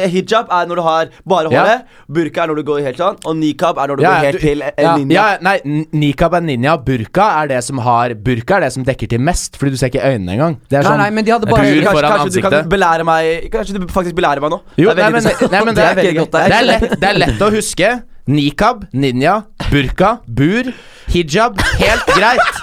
C: eh, Hijab er når du har bare
B: Ja.
C: håret. Burka er når du går helt sånn. Og nikab er når du
B: Ja,
C: går helt
B: du-
C: til en
B: Ja,
C: linje.
B: ja, nei, n- nikab er ninja. Burka er det som har Burka er det som dekker til mest, fordi du ser ikke øynene engang. Det er
A: Nei,
B: sånn
A: nei, men de hadde
B: bur
A: bare
C: Kanskje,
B: foran
C: kanskje du kan
B: ansiktet.
C: belære meg Kanskje du faktisk belærer meg nå?
B: Jo,
C: Det er
B: nei,
C: veldig
B: men,
C: interessant.
B: nei, men det, er,
C: veldig
B: ikke-
C: godt, det er.
B: det, er lett, det er lett å huske. Nikab, ninja, burka, bur, hijab. Helt greit.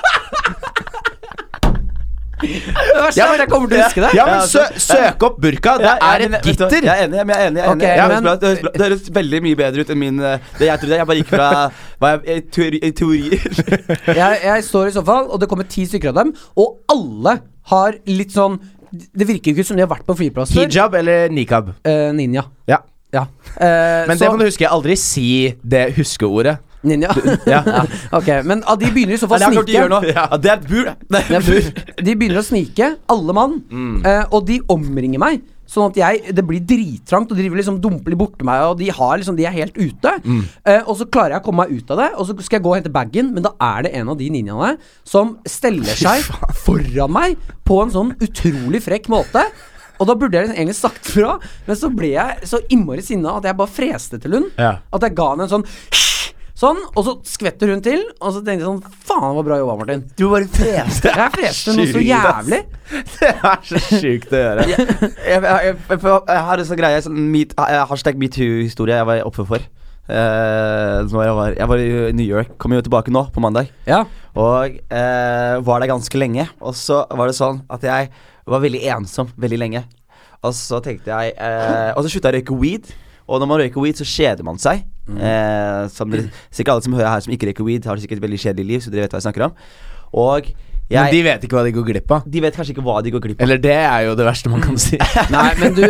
A: Det verste er at jeg kommer til å huske det.
B: Ja, men sø, søk opp burka. Det
C: Ja, jeg
B: er
C: men-
B: et
C: vet du hva,
B: gitter.
C: Jeg er enig. jeg- men Jeg er enig, jeg er enig.
A: Ok,
C: Jeg høres
A: men-
C: bra ut, det, høres bra, det høres veldig mye bedre ut enn min eh, Det jeg trodde. Jeg bare gikk fra hva jeg, i teori, i (laughs) teorier
A: Jeg, jeg står i sofaen, og det kommer ti stykker av dem, og alle har litt sånn Det virker jo ikke som de har vært på flyplass før.
B: Hijab eller nikab?
A: Eh, ninja.
B: Ja.
A: Ja. Eh,
B: Men
A: så,
B: det må du huske. Aldri si det huskeordet.
A: Ninja.
B: Ja.
A: (laughs) ok, men ah, de begynner i så
C: Hva
A: fall
C: er det han
A: å snike.
C: gjør nå? Ja, det er et bur. (laughs) Det
A: Det
C: er
A: er
C: et bur.
A: bur. De begynner å snike, alle mann. Eh, og de omringer meg. Sånn at jeg, Det blir drittrangt, og de driver liksom dumper litt borti meg. Og de, har liksom, de er helt ute. Eh, og så klarer jeg å komme meg ut av det, og så skal jeg gå og hente bagen. Men da er det en av de ninjaene som steller seg foran meg på en sånn utrolig frekk måte. Og da burde jeg liksom egentlig sagt fra, men så ble jeg så innmari sinna at jeg bare freste til hun.
B: Ja.
A: At jeg ga henne en sånn Sånn, og så skvetter hun til, og så tenkte jeg sånn Faen, det var bra jobba, Martin.
C: Du bare freste.
A: Jeg freste noe så
C: Sjukt, ass.
A: jævlig.
B: (laughs) Det er så sjukt å gjøre.
C: jeg, jeg, jeg, jeg, jeg har en sånn greie sånn meet, eh, Hashtag metoo-historie jeg var oppe for. Eh, når jeg, var, jeg var i New York. Kommer jo tilbake nå, på mandag.
A: Ja.
C: Og eh, var der ganske lenge. Og så var det sånn at jeg var veldig ensom veldig lenge. Og så tenkte jeg eh, Og så slutta jeg å røyke weed. Og når man røyker weed, så kjeder man seg. Eh, som dere, sikkert alle som hører her som ikke røyker weed, har sikkert et veldig kjedelig liv, så dere vet hva jeg snakker om. Og
B: Men
C: jeg,
B: de vet ikke hva de går glipp av.
C: de vet kanskje ikke hva de går glipp av.
B: Eller det er jo det verste man kan (laughs) si.
A: Nei, men
C: (laughs)
A: du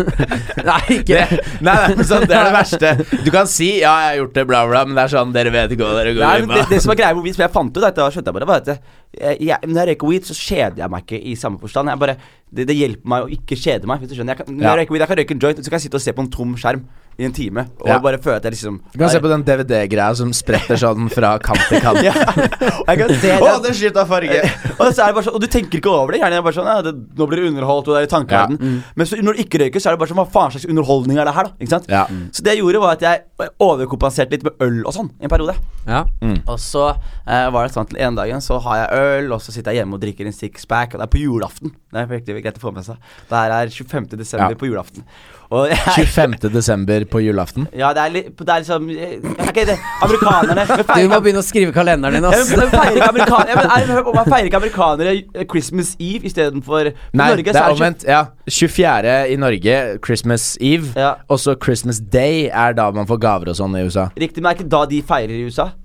A: Nei, ikke
B: Det, nei, nei, men sånn, det er det verste. Du kan si 'ja, jeg har gjort det', bla, bla, men det er sånn 'dere vet ikke hva dere går
C: Nei, men
B: glipp
C: det,
B: av'.
C: det som var greia med weed, som jeg fant ut etter, skjønte jeg bare, var at eh, jeg, når jeg røyker weed, så kjeder jeg meg ikke i samme forstand. Jeg bare, det, det hjelper meg å ikke kjede meg. Hvis du skjønner jeg kan, Når
B: Ja.
C: jeg røyker weed, jeg kan røyke en joint, så kan jeg sitte og se på en tom skjerm i en time. Og
B: Ja.
C: bare føle at jeg liksom
B: Du kan se på den DVD-greia som spretter sånn fra kant til (laughs) kant.
C: ja. Og jeg
B: (laughs)
C: kan se
B: Å,
C: det.
B: den skifta farge!
C: (laughs) og, så er det bare sånn, og du tenker ikke over det. Gjerne er det bare sånn, ja, det, Nå blir du underholdt. Og det er i tankeverdenen.
B: Mm.
C: Men så når du ikke røyker, så er det bare sånn Hva faen slags underholdning er det her, da? Ikke sant?
B: Ja.
C: Så det jeg gjorde, var at jeg overkompenserte litt med øl og sånn i en periode.
A: Ja.
C: Og så eh, var det sånn til en dagen så har jeg øl, og så sitter jeg hjemme og drikker en sixpack. Og det er på julaften. Det er virkelig greit å få med seg. Det her er 25. desember
B: Ja.
C: på julaften. Og jeg,
B: 25. desember på julaften.
C: ja, det er, litt, det er liksom jeg, jeg, er ikke det, Amerikanerne vi
A: Du
C: feirer
A: må
C: ikke-
A: begynne å skrive kalenderen din,
C: Ja, (laughs) men
A: ass.
C: vi feirer ikke amerikan- ja, men er- hør på, man feirer ikke amerikanere Christmas Eve istedenfor
B: Nei,
C: Norge.
B: det
C: så
B: er
C: tjue-
B: omvendt. Ja. 24. i Norge, Christmas Eve.
C: Ja.
B: Og så Christmas Day er da man får gaver og sånn i USA.
C: Riktig, men er ikke da de feirer i USA?
A: Vi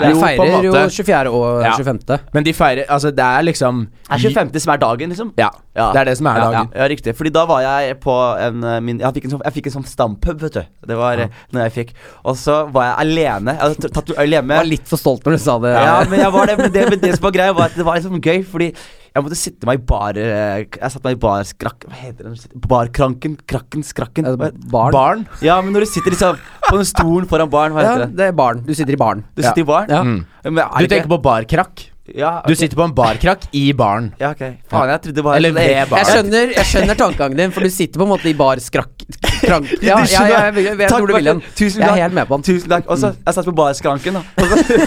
B: Jo, på en
A: feirer jo
B: måte.
A: 24. og
B: Ja.
A: 25.
B: Men de feirer Altså, det er liksom
C: Er 25. som er dagen, liksom?
B: Ja.
C: Ja.
B: Det er det som er
C: Ja,
B: dagen.
C: Ja, ja, riktig. Fordi da var jeg på en eh, min, jeg, fikk en sånn, jeg fikk en sånn stampub, vet du. Det var ja. når jeg fikk. Og så var jeg alene. Jeg hadde t- tatt øl hjemme.
A: Jeg var litt for stolt når du sa det.
C: Ja, men jeg var det, men det, men det som var greia, var at det var liksom gøy, fordi jeg måtte sitte meg i bar... eh, Jeg satte meg i barskrakk... Hva heter det? når du sitter- Barkranken? Krakken? Skrakken?
A: Eh,
C: Hva-
A: Barn.
B: Barn.
C: Ja, men når du sitter liksom på den stolen foran baren, hva
A: Ja,
C: heter det?
A: det er barn. Du sitter i baren.
C: Du sitter i baren?
A: Ja.
B: Mm.
C: Men er
B: Du
C: det ikke-
B: tenker på barkrakk.
C: ja,
B: Du
C: ok.
B: sitter på en barkrakk i baren.
C: Ja, ok. Faen, jeg trodde det var
B: Eller ved
A: Jeg
B: baren.
A: skjønner, jeg skjønner tankegangen din, for du sitter på en måte i barskrakk... Krank... Ja,
C: Du
A: jeg, jeg,
C: skjønner.
A: jeg, jeg, vet
C: Takk,
A: hvor du vil hen.
C: Martin. Tusen
A: Jeg er
C: takk.
A: helt med på den. Mm.
C: Tusen takk. Og så jeg satt på barskranken, da. (laughs) Og, så,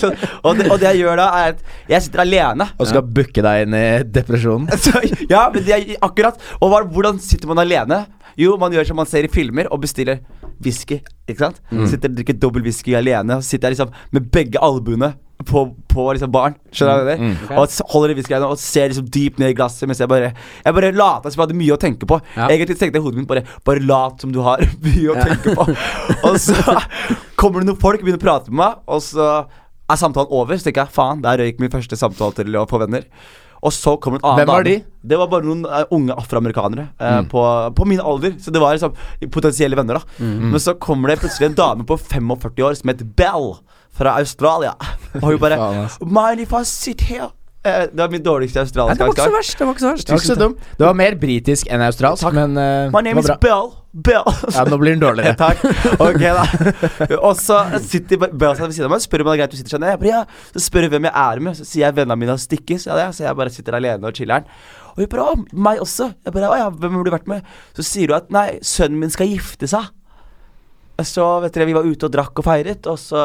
C: så, og, det, og det jeg gjør da, er at jeg sitter alene.
B: Og skal booke deg inn i
C: (laughs)
B: depresjonen.
C: Så, ja, men det er akkurat. Og hva, hvordan sitter man alene? Jo, man gjør som man ser i filmer, og bestiller whisky. Ikke sant? Sitter og drikker dobbel whisky alene, og sitter jeg liksom med begge albuene på, på liksom baren. Skjønner du hva jeg mener? Og s- holder i whiskyen og ser liksom dypt ned i glasset mens jeg bare Jeg bare later som jeg hadde mye å tenke på.
A: Ja.
C: Egentlig tenkte jeg i hodet mitt bare Bare lat som du har (laughs) mye å tenke på. og så kommer det noen folk begynner å prate med meg, og så er samtalen over. Så tenker jeg faen, der røyk min første samtale til å få venner. Og så kommer en annen
B: Hvem var
C: dame.
B: de? Mm.
C: Det var bare noen eh, unge afroamerikanere eh, på, på min alder. Så det var liksom potensielle venner, da.
B: Mm.
C: Men så kommer det plutselig en dame på 45 år som heter Bell fra
B: (laughs)
C: Australia. Og hun bare
B: Faen, ass.
C: Mind if I sit here? Eh, det var min dårligste
A: Nei,
C: australske
A: det var ikke så
C: aksent.
A: verst. Det var ikke så verst.
B: Det var ikke så dum. Det var mer britisk enn australsk, men eh,
C: My name
B: det
C: is
B: var bra.
C: Bell. Bell.
B: Ja, nå blir den
C: (laughs)
B: dårligere.
C: Takk. Ok, da. (laughs) Og så sitter Be- Bell seg ved siden av meg og spør om det er greit å sitte sånn. Jeg bare, ja. Så spør hun hvem jeg er med, så sier jeg vennene mine har stikket. Så, ja, det er jeg. så jeg bare sitter alene og chiller'n. Og hun bare å, meg også. Jeg bare å ja, hvem har du vært med? Så sier hun at nei, sønnen min skal gifte seg. Så vet dere, vi var ute og drakk og feiret, og så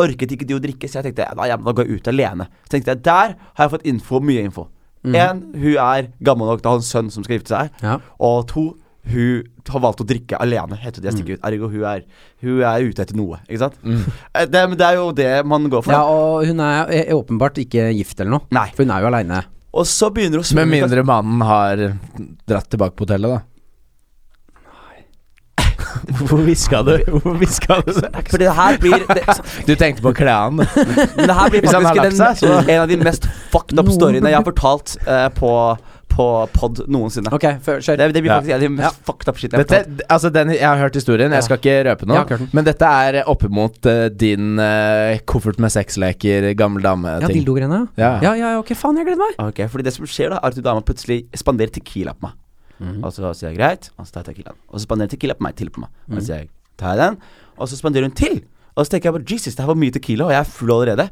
C: orket ikke de å drikke, så jeg tenkte nei, ja, men da går jeg ut alene. Så tenkte jeg, Der har jeg fått info, mye info. En, hun er gammel nok til å ha en sønn som skal gifte seg.
A: Ja.
C: Og to, hun har valgt å drikke alene. Heter det jeg
B: Mm.
C: stikker ut Ergo hun er, hun er ute etter noe, ikke sant? Eh, Det, men det er jo det man går for.
A: Ja,
C: da.
A: og hun er er åpenbart ikke gift eller noe.
C: Nei.
A: For hun er jo aleine.
C: Og så begynner hun å spørre om
B: Med
C: vi kan-
B: mindre mannen har dratt tilbake på hotellet, da. Hvorfor hviska du? Hvorfor hviska du det?
C: For det her blir det,
B: (laughs) Du tenkte på å kle av han.
C: men det her blir
B: Hvis han har
C: faktisk
B: lagt
C: den,
B: seg, så-
C: en av de mest fucked up
A: Noen
B: (laughs)
C: storyene jeg har
A: burde-
C: fortalt eh, på, på pod noensinne.
A: Ok, før, kjør.
C: Det, det blir
B: Ja.
C: faktisk en av de mest fucked up shit jeg har
B: Dette,
C: fortalt.
B: altså den, jeg har hørt historien, jeg skal ikke røpe
A: Jeg har ikke
B: noe.
A: hørt den.
B: Men dette er oppimot uh, din eh, koffert med sexleker, gammel
A: ja,
B: dame-ting.
A: dildogreiene.
B: Ja.
A: ja, ja, ok, faen, jeg gleder meg.
C: Ok, fordi det som skjer da, er at hun dama plutselig spanderer tequila på meg.
A: Mm.
C: Og så sier jeg greit, og så tar jeg tequilaen. Og så spanderer tequila på meg til på meg. Og så sier jeg tar jeg den, og så spanderer hun til. Og så tenker jeg på Jesus, det her var mye tequila, og jeg er full allerede.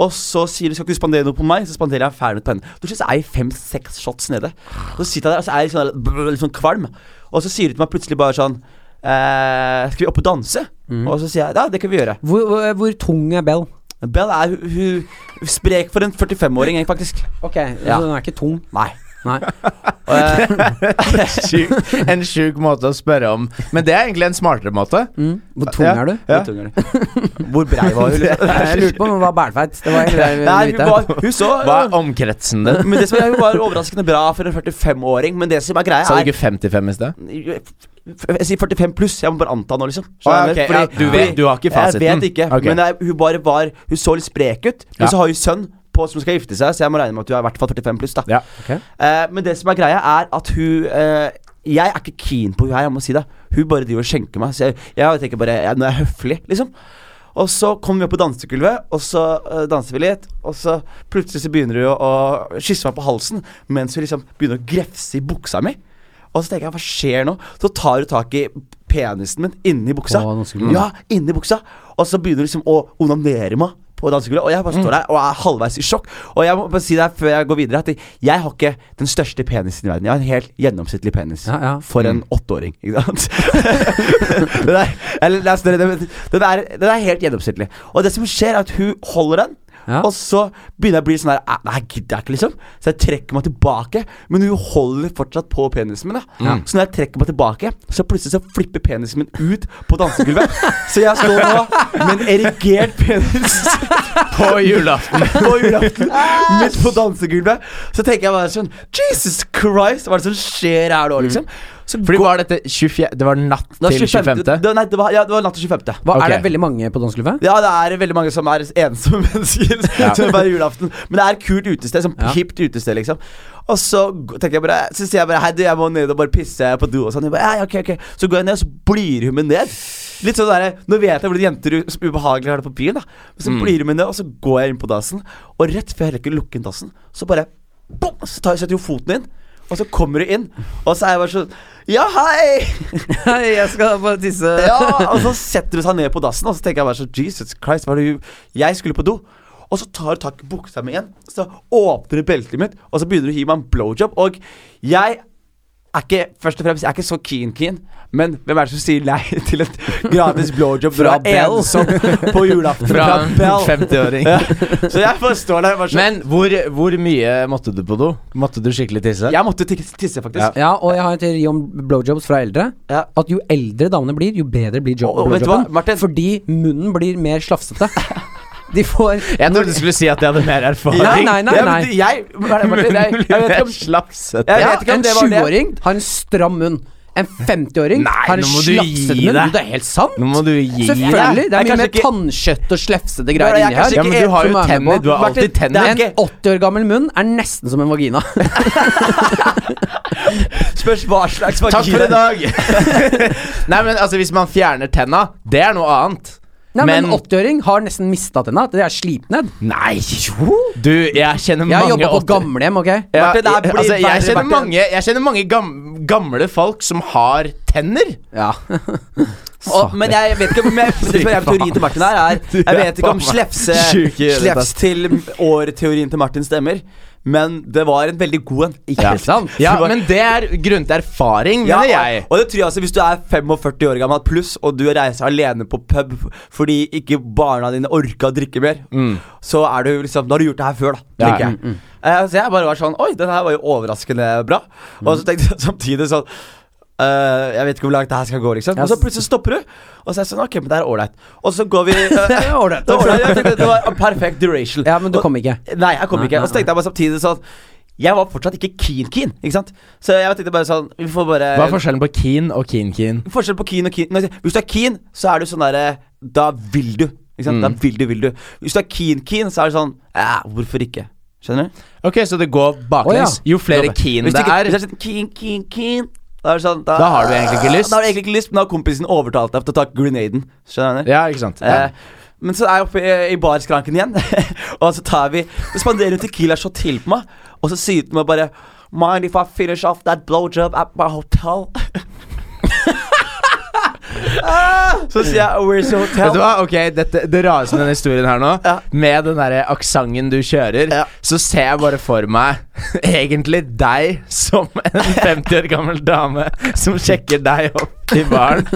C: Og så sier hun skal ikke du spandere noe på meg, så spanderer jeg en fernet på henne. Du synes jeg er fem-seks shots nede. Så sitter jeg der, og så er jeg litt sånn, brr, litt sånn kvalm. Og så sier hun til meg plutselig bare sånn eh, Skal vi opp og danse? Og så sier jeg ja, det kan vi gjøre.
A: Hvor, hvor, hvor tung er Bell?
C: Bell er hun- hun sprek for en 45-åring, jeg, faktisk.
A: Ok,
C: Ja.
A: så den er ikke tung.
C: Nei.
A: Nei.
C: Og jeg,
B: Sjuk, en sjuk måte å spørre om. Men det er egentlig en smartere måte.
A: Mhm. Hvor tung
B: Ja.
A: er du?
B: Ja.
C: Litt unger, de. Hvor brei var
B: (laughs)
C: hun? liksom?
A: Jeg lurte på om hun var bælfeit. Det var egentlig det jeg ville
C: Nei, hun,
A: vite.
C: var, hun så
B: Hva er omkretsen din?
C: Men det som er, Hun var overraskende bra for en 45-åring, men det som er greia,
B: Sa du
C: er
B: ikke 55 i sted?
C: Jeg sier 45 pluss, jeg må bare anta nå, liksom.
B: Å,
C: Skjønner
B: ja, ok, ja, du vet- du har ikke fasiten.
C: Jeg vet ikke,
B: Ok.
C: men jeg, hun bare var Hun så litt sprek ut, men
B: Ja.
C: så har hun sønn på, som skal gifte seg, så jeg må regne med at hun er i hvert fall 45 pluss, da.
B: Ja.
C: Eh, men det som er greia, er at hun eh, Jeg er ikke keen på hun her, jeg må si det. Hun bare driver og skjenker meg. Så jeg, jeg tenker bare jeg, Nå er jeg høflig, liksom. Og så kommer vi opp på dansegulvet, og så eh, danser vi litt. Og så plutselig så begynner hun å, å kysse meg på halsen mens hun liksom begynner å grefse i buksa mi. Og så tenker jeg, hva skjer nå? Så tar hun tak i penisen min inni buksa.
A: På dansegulvet?
C: Ja, inni buksa. Og så begynner hun liksom å onanere meg på dansegulvet. Og jeg bare står der og er halvveis i sjokk. Og jeg må bare si det her før jeg går videre, at jeg har ikke den største penisen i verden. Jeg har en helt gjennomsnittlig penis.
A: Ja, ja.
C: For en åtteåring, ikke sant? (laughs) den, er, eller, det er større, den, den, er, den er helt gjennomsnittlig. Og det som skjer, er at hun holder den.
A: Ja.
C: Og så begynner jeg å bli sånn her "Æ, Nei, gidder jeg ikke, liksom. Så jeg trekker meg tilbake. Men hun holder fortsatt på penisen min. Da. Så når jeg trekker meg tilbake, så plutselig så flipper penisen min ut på dansegulvet. så jeg står nå med en erigert penis
B: På julaften.
C: på julaften midt på dansegulvet. Så tenker jeg bare sånn Jesus Christ, hva er det som skjer her nå, liksom? Så
B: Fordi var dette 24, Det var natt
C: det var
B: til 25.
C: Det, nei, det var, ja, det var natt til 25.
A: Hva,
B: Ok.
A: Er det veldig mange på
C: (laughs)
A: dansegulvet?
C: Ja, det er veldig mange som er ensomme (laughs) mennesker.
B: Ja.
C: Som bare julaften Men det er et kult utested. Sånn
A: Ja.
C: hipt utested, liksom. Og så g- tenker jeg bare Så sier jeg bare Hei, du, jeg må ned og bare pisse på do. Og sånn. Jeg bare, ja, ja, ok, ok Så går jeg ned, og så blir hun med ned. Litt sånn der, Nå vet jeg hvordan jenter u- som ubehagelig har det på byen, da. Men
B: Mm.
C: så blir hun med ned, og så går jeg inn på dassen. Og rett før jeg rekker å lukke inn dassen, så bare bom, Så tar jeg setter hun foten inn. Og så kommer hun inn, og så er jeg bare sånn Ja, hei!
A: jeg skal bare tisse.
C: Ja, og så setter hun seg ned på dassen, og så tenker jeg bare sånn Jesus Christ, hva er det hun Jeg skulle på do. Og så tar hun tak i buksa mi igjen, så åpner hun beltet mitt, og så begynner hun å gi meg en blowjob. Og jeg er ikke først og fremst, jeg er ikke så keen-keen, men hvem er det som sier nei (laughs) til et gratis blowjob
B: Fra
C: fra,
B: Bell.
C: en som på julaften?
B: Fra
C: Fra,
B: en
C: Bell.
B: 50-åring.
C: Ja. Så jeg bare står der og bare sånn
B: Men hvor, hvor mye måtte du på do? Måtte du skikkelig tisse?
C: Jeg måtte tisse, tisse faktisk.
B: Ja.
A: Ja, og jeg har en teori om blowjobs fra eldre.
C: Ja.
A: At jo eldre damene blir, jo bedre blir job
C: Og- og vet du hva, Martin?
A: blowjobben. Fordi munnen blir mer slafsete. De får
B: Jeg trodde du skulle si at jeg hadde mer erfaring.
A: Ja, nei, nei,
C: Ja, men
A: nei.
C: det- Jeg, hva er det, Martin?
B: (laughs)
C: Jeg, jeg, vet ikke om
B: slapsete.
C: Jeg
A: ja,
C: vet ikke om
A: En
C: det var det.
A: 20-åring har en stram munn. En 50-åring
B: Nei,
A: har en
B: nå må du gi
A: slafsete munn.
B: deg.
A: Jo, Det er helt sant.
B: Nå må du gi
A: Selvfølgelig. Det
C: Jeg
A: er mye
C: kanskje
A: mer
C: ikke-
A: tannkjøtt og slefsete
C: Nei,
A: greier
C: jeg
A: inni
C: kanskje
A: her.
B: Ja, men du har jo
A: Som er med
B: tenner.
A: på.
B: Du har
C: Martin, det
B: alltid
C: er
B: tenner.
A: En 80 år gammel munn er nesten som en vagina. (laughs)
C: Spørs hva slags
B: Takk
C: vagina
B: for i dag! (laughs) Nei, men altså, hvis man fjerner tenna, det er noe annet.
A: Nei, men en
B: Men-
A: 80-åring har nesten mista tenna. Det er slipt ned.
B: Nei, jo! Du, jeg kjenner
A: Jeg har
B: mange
A: jobba på
B: 80
A: gamlehjem, ok?
B: Ja,
C: Martin, det her blir
B: altså, jeg,
C: verre,
B: kjenner
C: Martin.
B: mange, jeg kjenner mange gam gamle folk som har tenner.
A: Ja.
C: Og, men jeg vet ikke om
B: (laughs)
C: jeg, det som er teorien til Martin her er Jeg vet ikke om slefse
B: Sjuk i det,
C: Slefs til år-teorien til Martin stemmer, men det var en veldig god en.
A: Ikke sant?
B: (laughs) Ja, men det er grunn til erfaring,
C: Ja,
B: mener jeg.
C: og, og det tror jeg altså Hvis du er 45 år gammel pluss, og du reiser alene på pub fordi ikke barna dine orka å drikke mer,
A: Mm.
C: så er du liksom Da har du gjort det her før, da.
B: Ja.
C: tenker jeg. Eh, så jeg bare var sånn Oi, den her var jo overraskende bra.
A: Mm.
C: Og så tenkte jeg samtidig sånn eh, jeg vet ikke hvor langt det her skal gå. liksom Og så plutselig stopper du. Og så er jeg sånn, ok, men det er ålreit Og så går vi eh,
A: (laughs) Det er ålreit.
C: Det, er ålreit. Jeg tenkte, det var en perfekt duration.
A: Ja, men du
C: Og-
A: kom ikke.
C: Nei, jeg kom
A: Nei,
C: ikke.
A: nei,
C: Og så tenkte jeg bare samtidig sånn Jeg var fortsatt ikke keen-keen, ikke sant? Så jeg tenkte bare sånn Vi får bare
B: Hva er forskjellen på Keen og Keen-Keen?
C: Forskjell på keen og keen Nei, Hvis du er keen, så er du sånn derre
B: Mm.
C: Da vil du. Ikke sant? Da vil du, vil du. Hvis du er keen-keen, så er det sånn eh, Hvorfor ikke? Skjønner du?
B: Ok, så det går baklengs.
A: Å,
B: Jo flere keen
C: Hvis det
B: det
C: ikke-
B: er
C: Hvis det er sånn keen, keen, keen da, er det sånn, da,
B: Da har du egentlig ikke lyst.
C: Da har du egentlig ikke lyst, Men da har kompisen overtalt deg til å ta grenaden. Skjønner du?
B: Ja, ikke sant. Ja.
C: Eh, men så er jeg oppe i, i barskranken igjen, (laughs) og så tar vi så spanderer hun Tequila shot til på meg, og så sier hun til meg bare Mind if I finish off that blowjob at my hotel? (laughs) Ah, så sier jeg Where's your hotel?
B: Vet du hva? Ok, dette, Det rareste med denne historien her nå,
C: Ja.
B: med den der aksenten du kjører,
C: Ja.
B: så ser jeg bare for meg (laughs) egentlig deg som
C: (laughs)
B: en 50 år gammel dame som sjekker deg opp i
C: (laughs)
B: baren.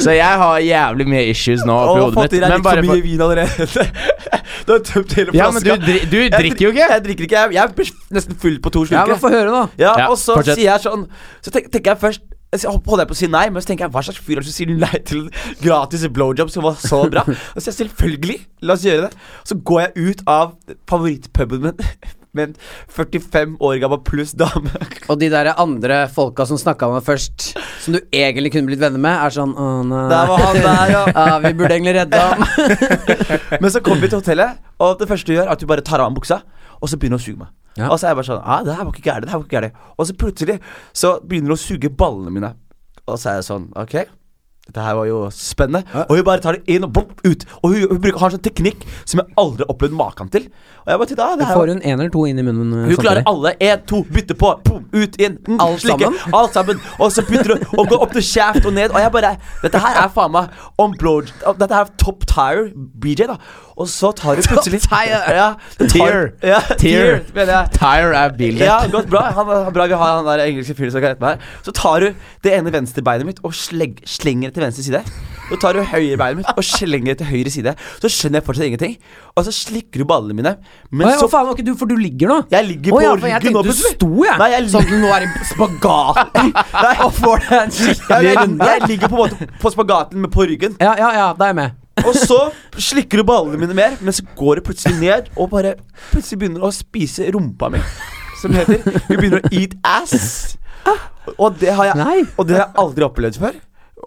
B: Så jeg har jævlig mye issues nå
C: Og
B: oppi hodet
C: fått i deg
B: mitt. Men
C: litt for
B: bare
C: mye
B: for,
C: vin allerede. (laughs) du har tømt hele flaska.
B: ja, men du, dri- du
C: Jeg
B: drikker jo
C: drik-
B: ikke.
C: Jeg drikker ikke, jeg, jeg er bes- nesten full på to
A: Ja, men
C: slurker.
A: få høre, da.
C: Ja,
B: Ja,
C: og så
B: fortsett.
C: sier jeg sånn Så tenk, tenker jeg først jeg holdt- holder jeg på å si nei, men så tenker jeg hva slags fyr er det som sier nei til gratis blowjob som var så
B: (laughs)
C: bra? Og så sier jeg selvfølgelig, la oss gjøre det. Så går jeg ut av favorittpuben min (laughs) med en 45 år gammel pluss dame. (laughs)
A: Og de der andre folka som snakka med meg først, som du egentlig kunne blitt venner med, er sånn Å, nei.
C: Der var han der, ja.
A: Ja, vi burde egentlig redde
C: (laughs)
A: ham.
C: Men så kommer vi til hotellet, og det første du gjør, er at du bare tar av meg buksa, og så begynner hun å suge meg.
A: Ja.
C: Og så er jeg bare sånn ah, det her var ikke gærent, det her var ikke gærent. Og så plutselig så begynner hun å suge ballene mine. Og så er jeg sånn, OK. Dette her var jo spennende. Og hun bare tar det inn og bom, ut. Og hun, hun bruker, har en sånn teknikk som jeg aldri har opplevd maken til. Og jeg bare tenkte, ah, det her var
A: Får hun én eller to inn i munnen? eh,
C: hun klarer alle. Én, to, bytte på. Boom, ut, inn. Mm,
A: Alt sammen?
C: Alt sammen. Og så bytter hun og går opp til kjeft og ned. Og jeg bare Dette her er faen meg on blow... Dette her er top tire BJ, da. Og så tar hun plutselig Ja, det tar-
B: Tier.
C: Ja, tier,
B: Tier.
C: mener jeg.
B: Tire er bildet.
C: Ja, godt bra. Han, han, bra vi har han der engelske fyren som kan rette meg her. Så tar hun det ene venstrebeinet mitt og slegg, slenger det til venstre side. Så tar hun høyrebeinet mitt og slenger det til høyre side. Så skjønner jeg fortsatt ingenting. Og så slikker hun ballene mine. Men
A: Men
C: så
A: så faen var ikke du, for du ligger nå.
C: Jeg ligger
A: Å
C: på
A: ja, for jeg
C: ryggen nå,
A: tenkte du
C: plutselig.
A: sto, jeg.
C: Nei, jeg
A: sånn at du nå er i
C: (laughs)
A: spagaten (laughs) og får deg en
C: Jeg,
A: skikkelig
C: jeg,
A: runde.
C: jeg ligger på en måte på spagaten med på ryggen,
A: Ja, ja, ja, da er jeg med.
C: og så slikker du ballene mine mer, men så går det plutselig ned og bare plutselig begynner å spise rumpa mi. Som det heter. Hun begynner å eat ass. Og det har jeg,
A: Nei.
C: og det har jeg aldri opplevd før.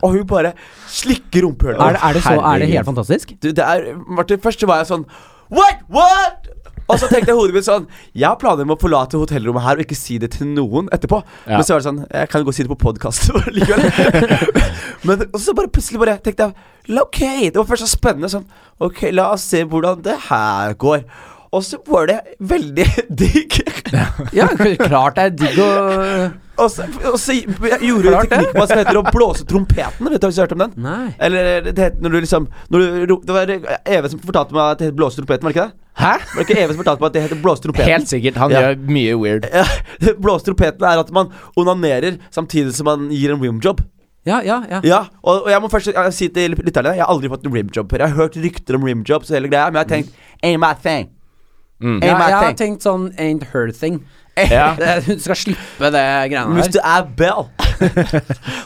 C: Og hun bare slikker rumpehullet.
A: Er det, er det, så, er det
B: herregud.
A: helt fantastisk?
C: Du, det er Martin, først så var jeg sånn What? What? Og så tenkte jeg i hodet mitt sånn Jeg har planer om å forlate hotellrommet her og ikke si det til noen etterpå.
B: Ja.
C: Men så var det sånn Jeg kan jo gå og si det på (laughs) podkasten vår likevel. (laughs) Men og så bare plutselig bare tenkte jeg la- Ok, det var først så spennende sånn Ok, la oss se hvordan det her går. Og så var det veldig (laughs) digg.
A: (laughs) Ja, klart det er digg å
C: Og så, og så gjorde hun en
A: Klart det.
C: teknikk hva som heter å blåse trompeten. Vet du hvis du har hørt om den?
A: Nei.
C: Eller det het når du liksom når du, ro- Det var Even som fortalte meg at det het blåse trompeten, var det ikke det?
B: Hæ?
C: Var det ikke Even som fortalte meg at det heter blåse trompeten?
B: Helt sikkert. Han
C: Ja.
B: gjør mye weird.
C: Ja, (laughs) blåse trompeten er at man onanerer samtidig som man gir en rimjob.
A: Ja, ja, ja.
C: Ja, og, og jeg må først eh, si til lytterne Jeg har aldri fått en rimjob før. Jeg har hørt rykter om rimjobs og hele greia, men jeg har tenkt Ain't my thing.
B: Mm.
A: Ja,
C: Ain't my
A: jeg har
C: thing.
A: tenkt sånn ain't her thing. (laughs)
B: Ja.
A: Det- Hun skal slippe det greiene
C: Men
A: her.
C: Hvis du er
B: (laughs)
C: Bell,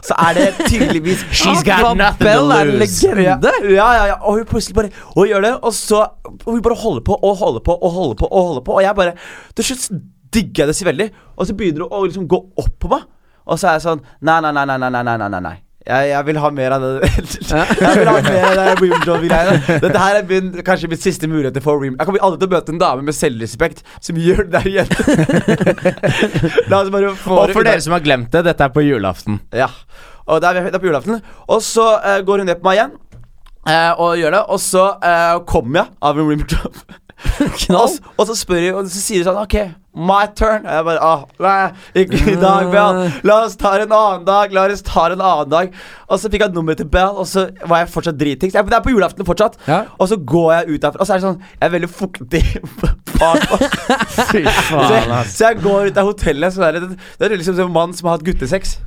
C: så er det tydeligvis
B: She's got
A: Van
B: nothing to
A: Bell er en
B: lose.
A: legende!
C: Ja, ja, ja. Og hun plutselig bare Og gjør det. Og så og Hun bare holder på og holder på og holder på. Og holder på Og jeg bare Til slutt så digger jeg det så veldig. Og så begynner hun å liksom gå opp på meg. Og så er jeg sånn Nei, nei, nei, nei, nei, nei, nei, nei, nei, nei. Jeg, jeg vil ha mer av det (laughs) Jeg vil ha mer av det rimjob-greiene. Dette her er min, kanskje min siste mulighet til å få rim. Jeg kommer aldri til å møte en dame med selvrespekt som gjør det der igjen. (laughs) La oss bare få
B: Og
C: det
B: for
C: unna.
B: dere som har glemt det, dette er på julaften.
C: Ja. Og der, der på julaften. Og så eh, går hun ned på meg igjen eh, og gjør det. Og så eh, kommer jeg av en rimjob. og, s- og så spør hun, og så sier hun sånn OK, my turn. Og jeg bare ah, Nei, ikke i dag, Bell. La oss ta det en annen dag. La oss ta det en annen dag. Og så fikk jeg nummeret til Bell, og så var jeg fortsatt dritings. Jeg- Det er på julaften fortsatt.
A: Ja.
C: Og så går jeg ut derfra, og så er det sånn Jeg er veldig fuktig (laughs) bak.
B: (laughs)
C: (laughs)
B: Fy
C: Så
B: faen, altså.
C: jeg, så jeg går ut av hotellet, så er det, det er liksom som en mann som har hatt guttesex.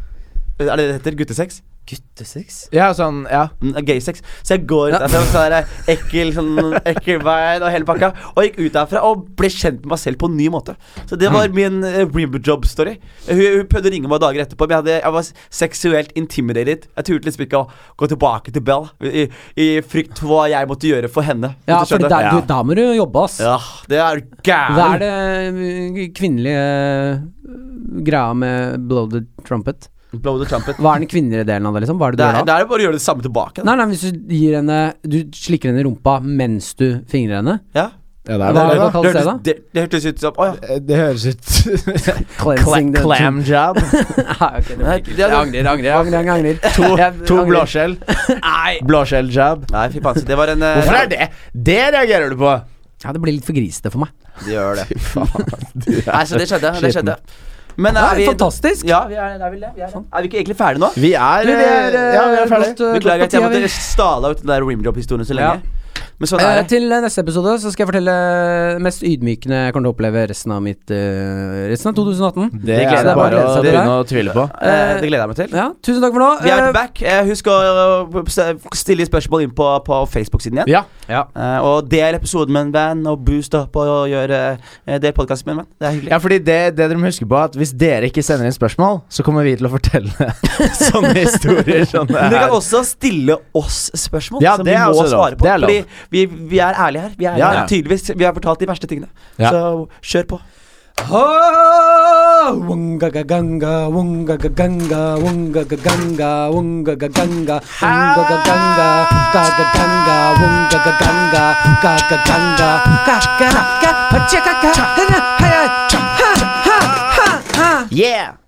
C: Er det det det heter? Guttesex?
A: Guttesex?
B: Ja, sånn, ja.
C: Mm, Gaysex. Så jeg går ut derfra, så er det ekkel sånn, ekkel vibe og hele pakka. Og gikk ut derfra og ble kjent med meg selv på en ny måte. Så det
A: Mm.
C: var min uh, job-story. Hun, hun prøvde å ringe meg dager etterpå, men jeg, hadde, jeg var s- seksuelt intimidated. Jeg turte liksom ikke å gå tilbake til Bell i, i frykt for hva jeg måtte gjøre for henne.
A: Ja,
C: Hvis du
A: for
C: skjønner.
A: da, du, da må du jobbe, ass.
C: ja, det er
A: Hva er
C: gærent.
A: det uh, kvinnelige uh, greia med blowed trumpet?
C: Blow the trumpet.
A: Hva er den kvinnelige delen av det, liksom? Hva er det
C: Det er,
A: du gjør
C: det
A: da?
C: er bare å gjøre det samme tilbake. Da.
A: Nei, nei, hvis du gir henne Du slikker henne i rumpa mens du fingrer henne,
C: Ja
B: Ja, det er vel
A: Hva er det
B: det,
A: man kaller det, da?
C: hørtes- det, det hørtes ut som Å ja.
B: da. Eh, Det høres ut
A: Cleansing the- (laughs)
B: Clam job.
A: Nei, ok, det var
C: Ja,
A: ikke- Jeg
C: det-
A: angrer, angrer. jeg angrer, jeg angrer.
B: To,
A: (laughs) Jeg
B: to
A: angrer.
B: blåskjell. Blåskjell job.
C: Nei, fy faen. så Det var en eh,
B: Hvorfor er det? Det reagerer du på!
A: Ja, det blir litt for grisete for meg.
C: De gjør
B: (laughs)
C: det.
B: Faen.
C: Nei, så det skjedde. Det
B: Skitten.
C: skjedde. Men
A: Det
C: er
A: er
C: vi
A: fantastisk. Sånn.
C: Ja, vi er, det er vel det. Vi er, det. er vi ikke egentlig ferdige nå?
B: Vi er,
A: Du, vi er, eh,
B: Ja, vi er ferdig.
A: godt, eh,
C: Beklager at
A: godt
C: jeg
A: på tida, vi.
C: måtte stala ut den der rimjob-historien så lenge. Men sånn
A: Eh,
C: er det.
A: til neste episode så skal jeg fortelle det mest ydmykende jeg kommer til å oppleve resten av mitt eh, Resten av
B: Det
A: 2018. Så
B: er
A: det
B: det bare
A: bare å
B: å
A: glede seg til
B: begynne å tvile på.
C: Eh, Det gleder jeg meg til.
A: Ja, tusen takk for nå.
C: Vi er
A: Eh,
C: back. Eh, Husk å eh, se- stille spørsmål inn på, på Facebook-siden igjen.
B: Ja.
C: Eh, Og del episoden med en venn, og boost opp og og gjør eh, del podkasten med en venn. Det er hyggelig.
B: Ja, fordi det, det dere må huske på er at Hvis dere ikke sender inn spørsmål, så kommer vi til å fortelle (laughs) sånne historier. Sånn det
C: Men dere kan
B: er.
C: også stille oss spørsmål
B: Ja,
C: som
B: det
C: vi
B: er
C: må
B: også lov.
C: svare på.
B: Det er lov.
C: Fordi vi, vi er ærlige her. Vi er
B: Ja,
C: ærlige
B: ja.
C: her. tydeligvis Vi har fortalt de verste tingene.
B: Ja.
C: Så kjør på.
A: Ho! Wungagaganga, wungagaganga, wungagaganga, wungagaganga, wungagaganga, gagaganga, wungagaganga, gagaganga, gagaraka, tjakaka, hana, haya, ha, ha, ha, ha.
B: Yeah!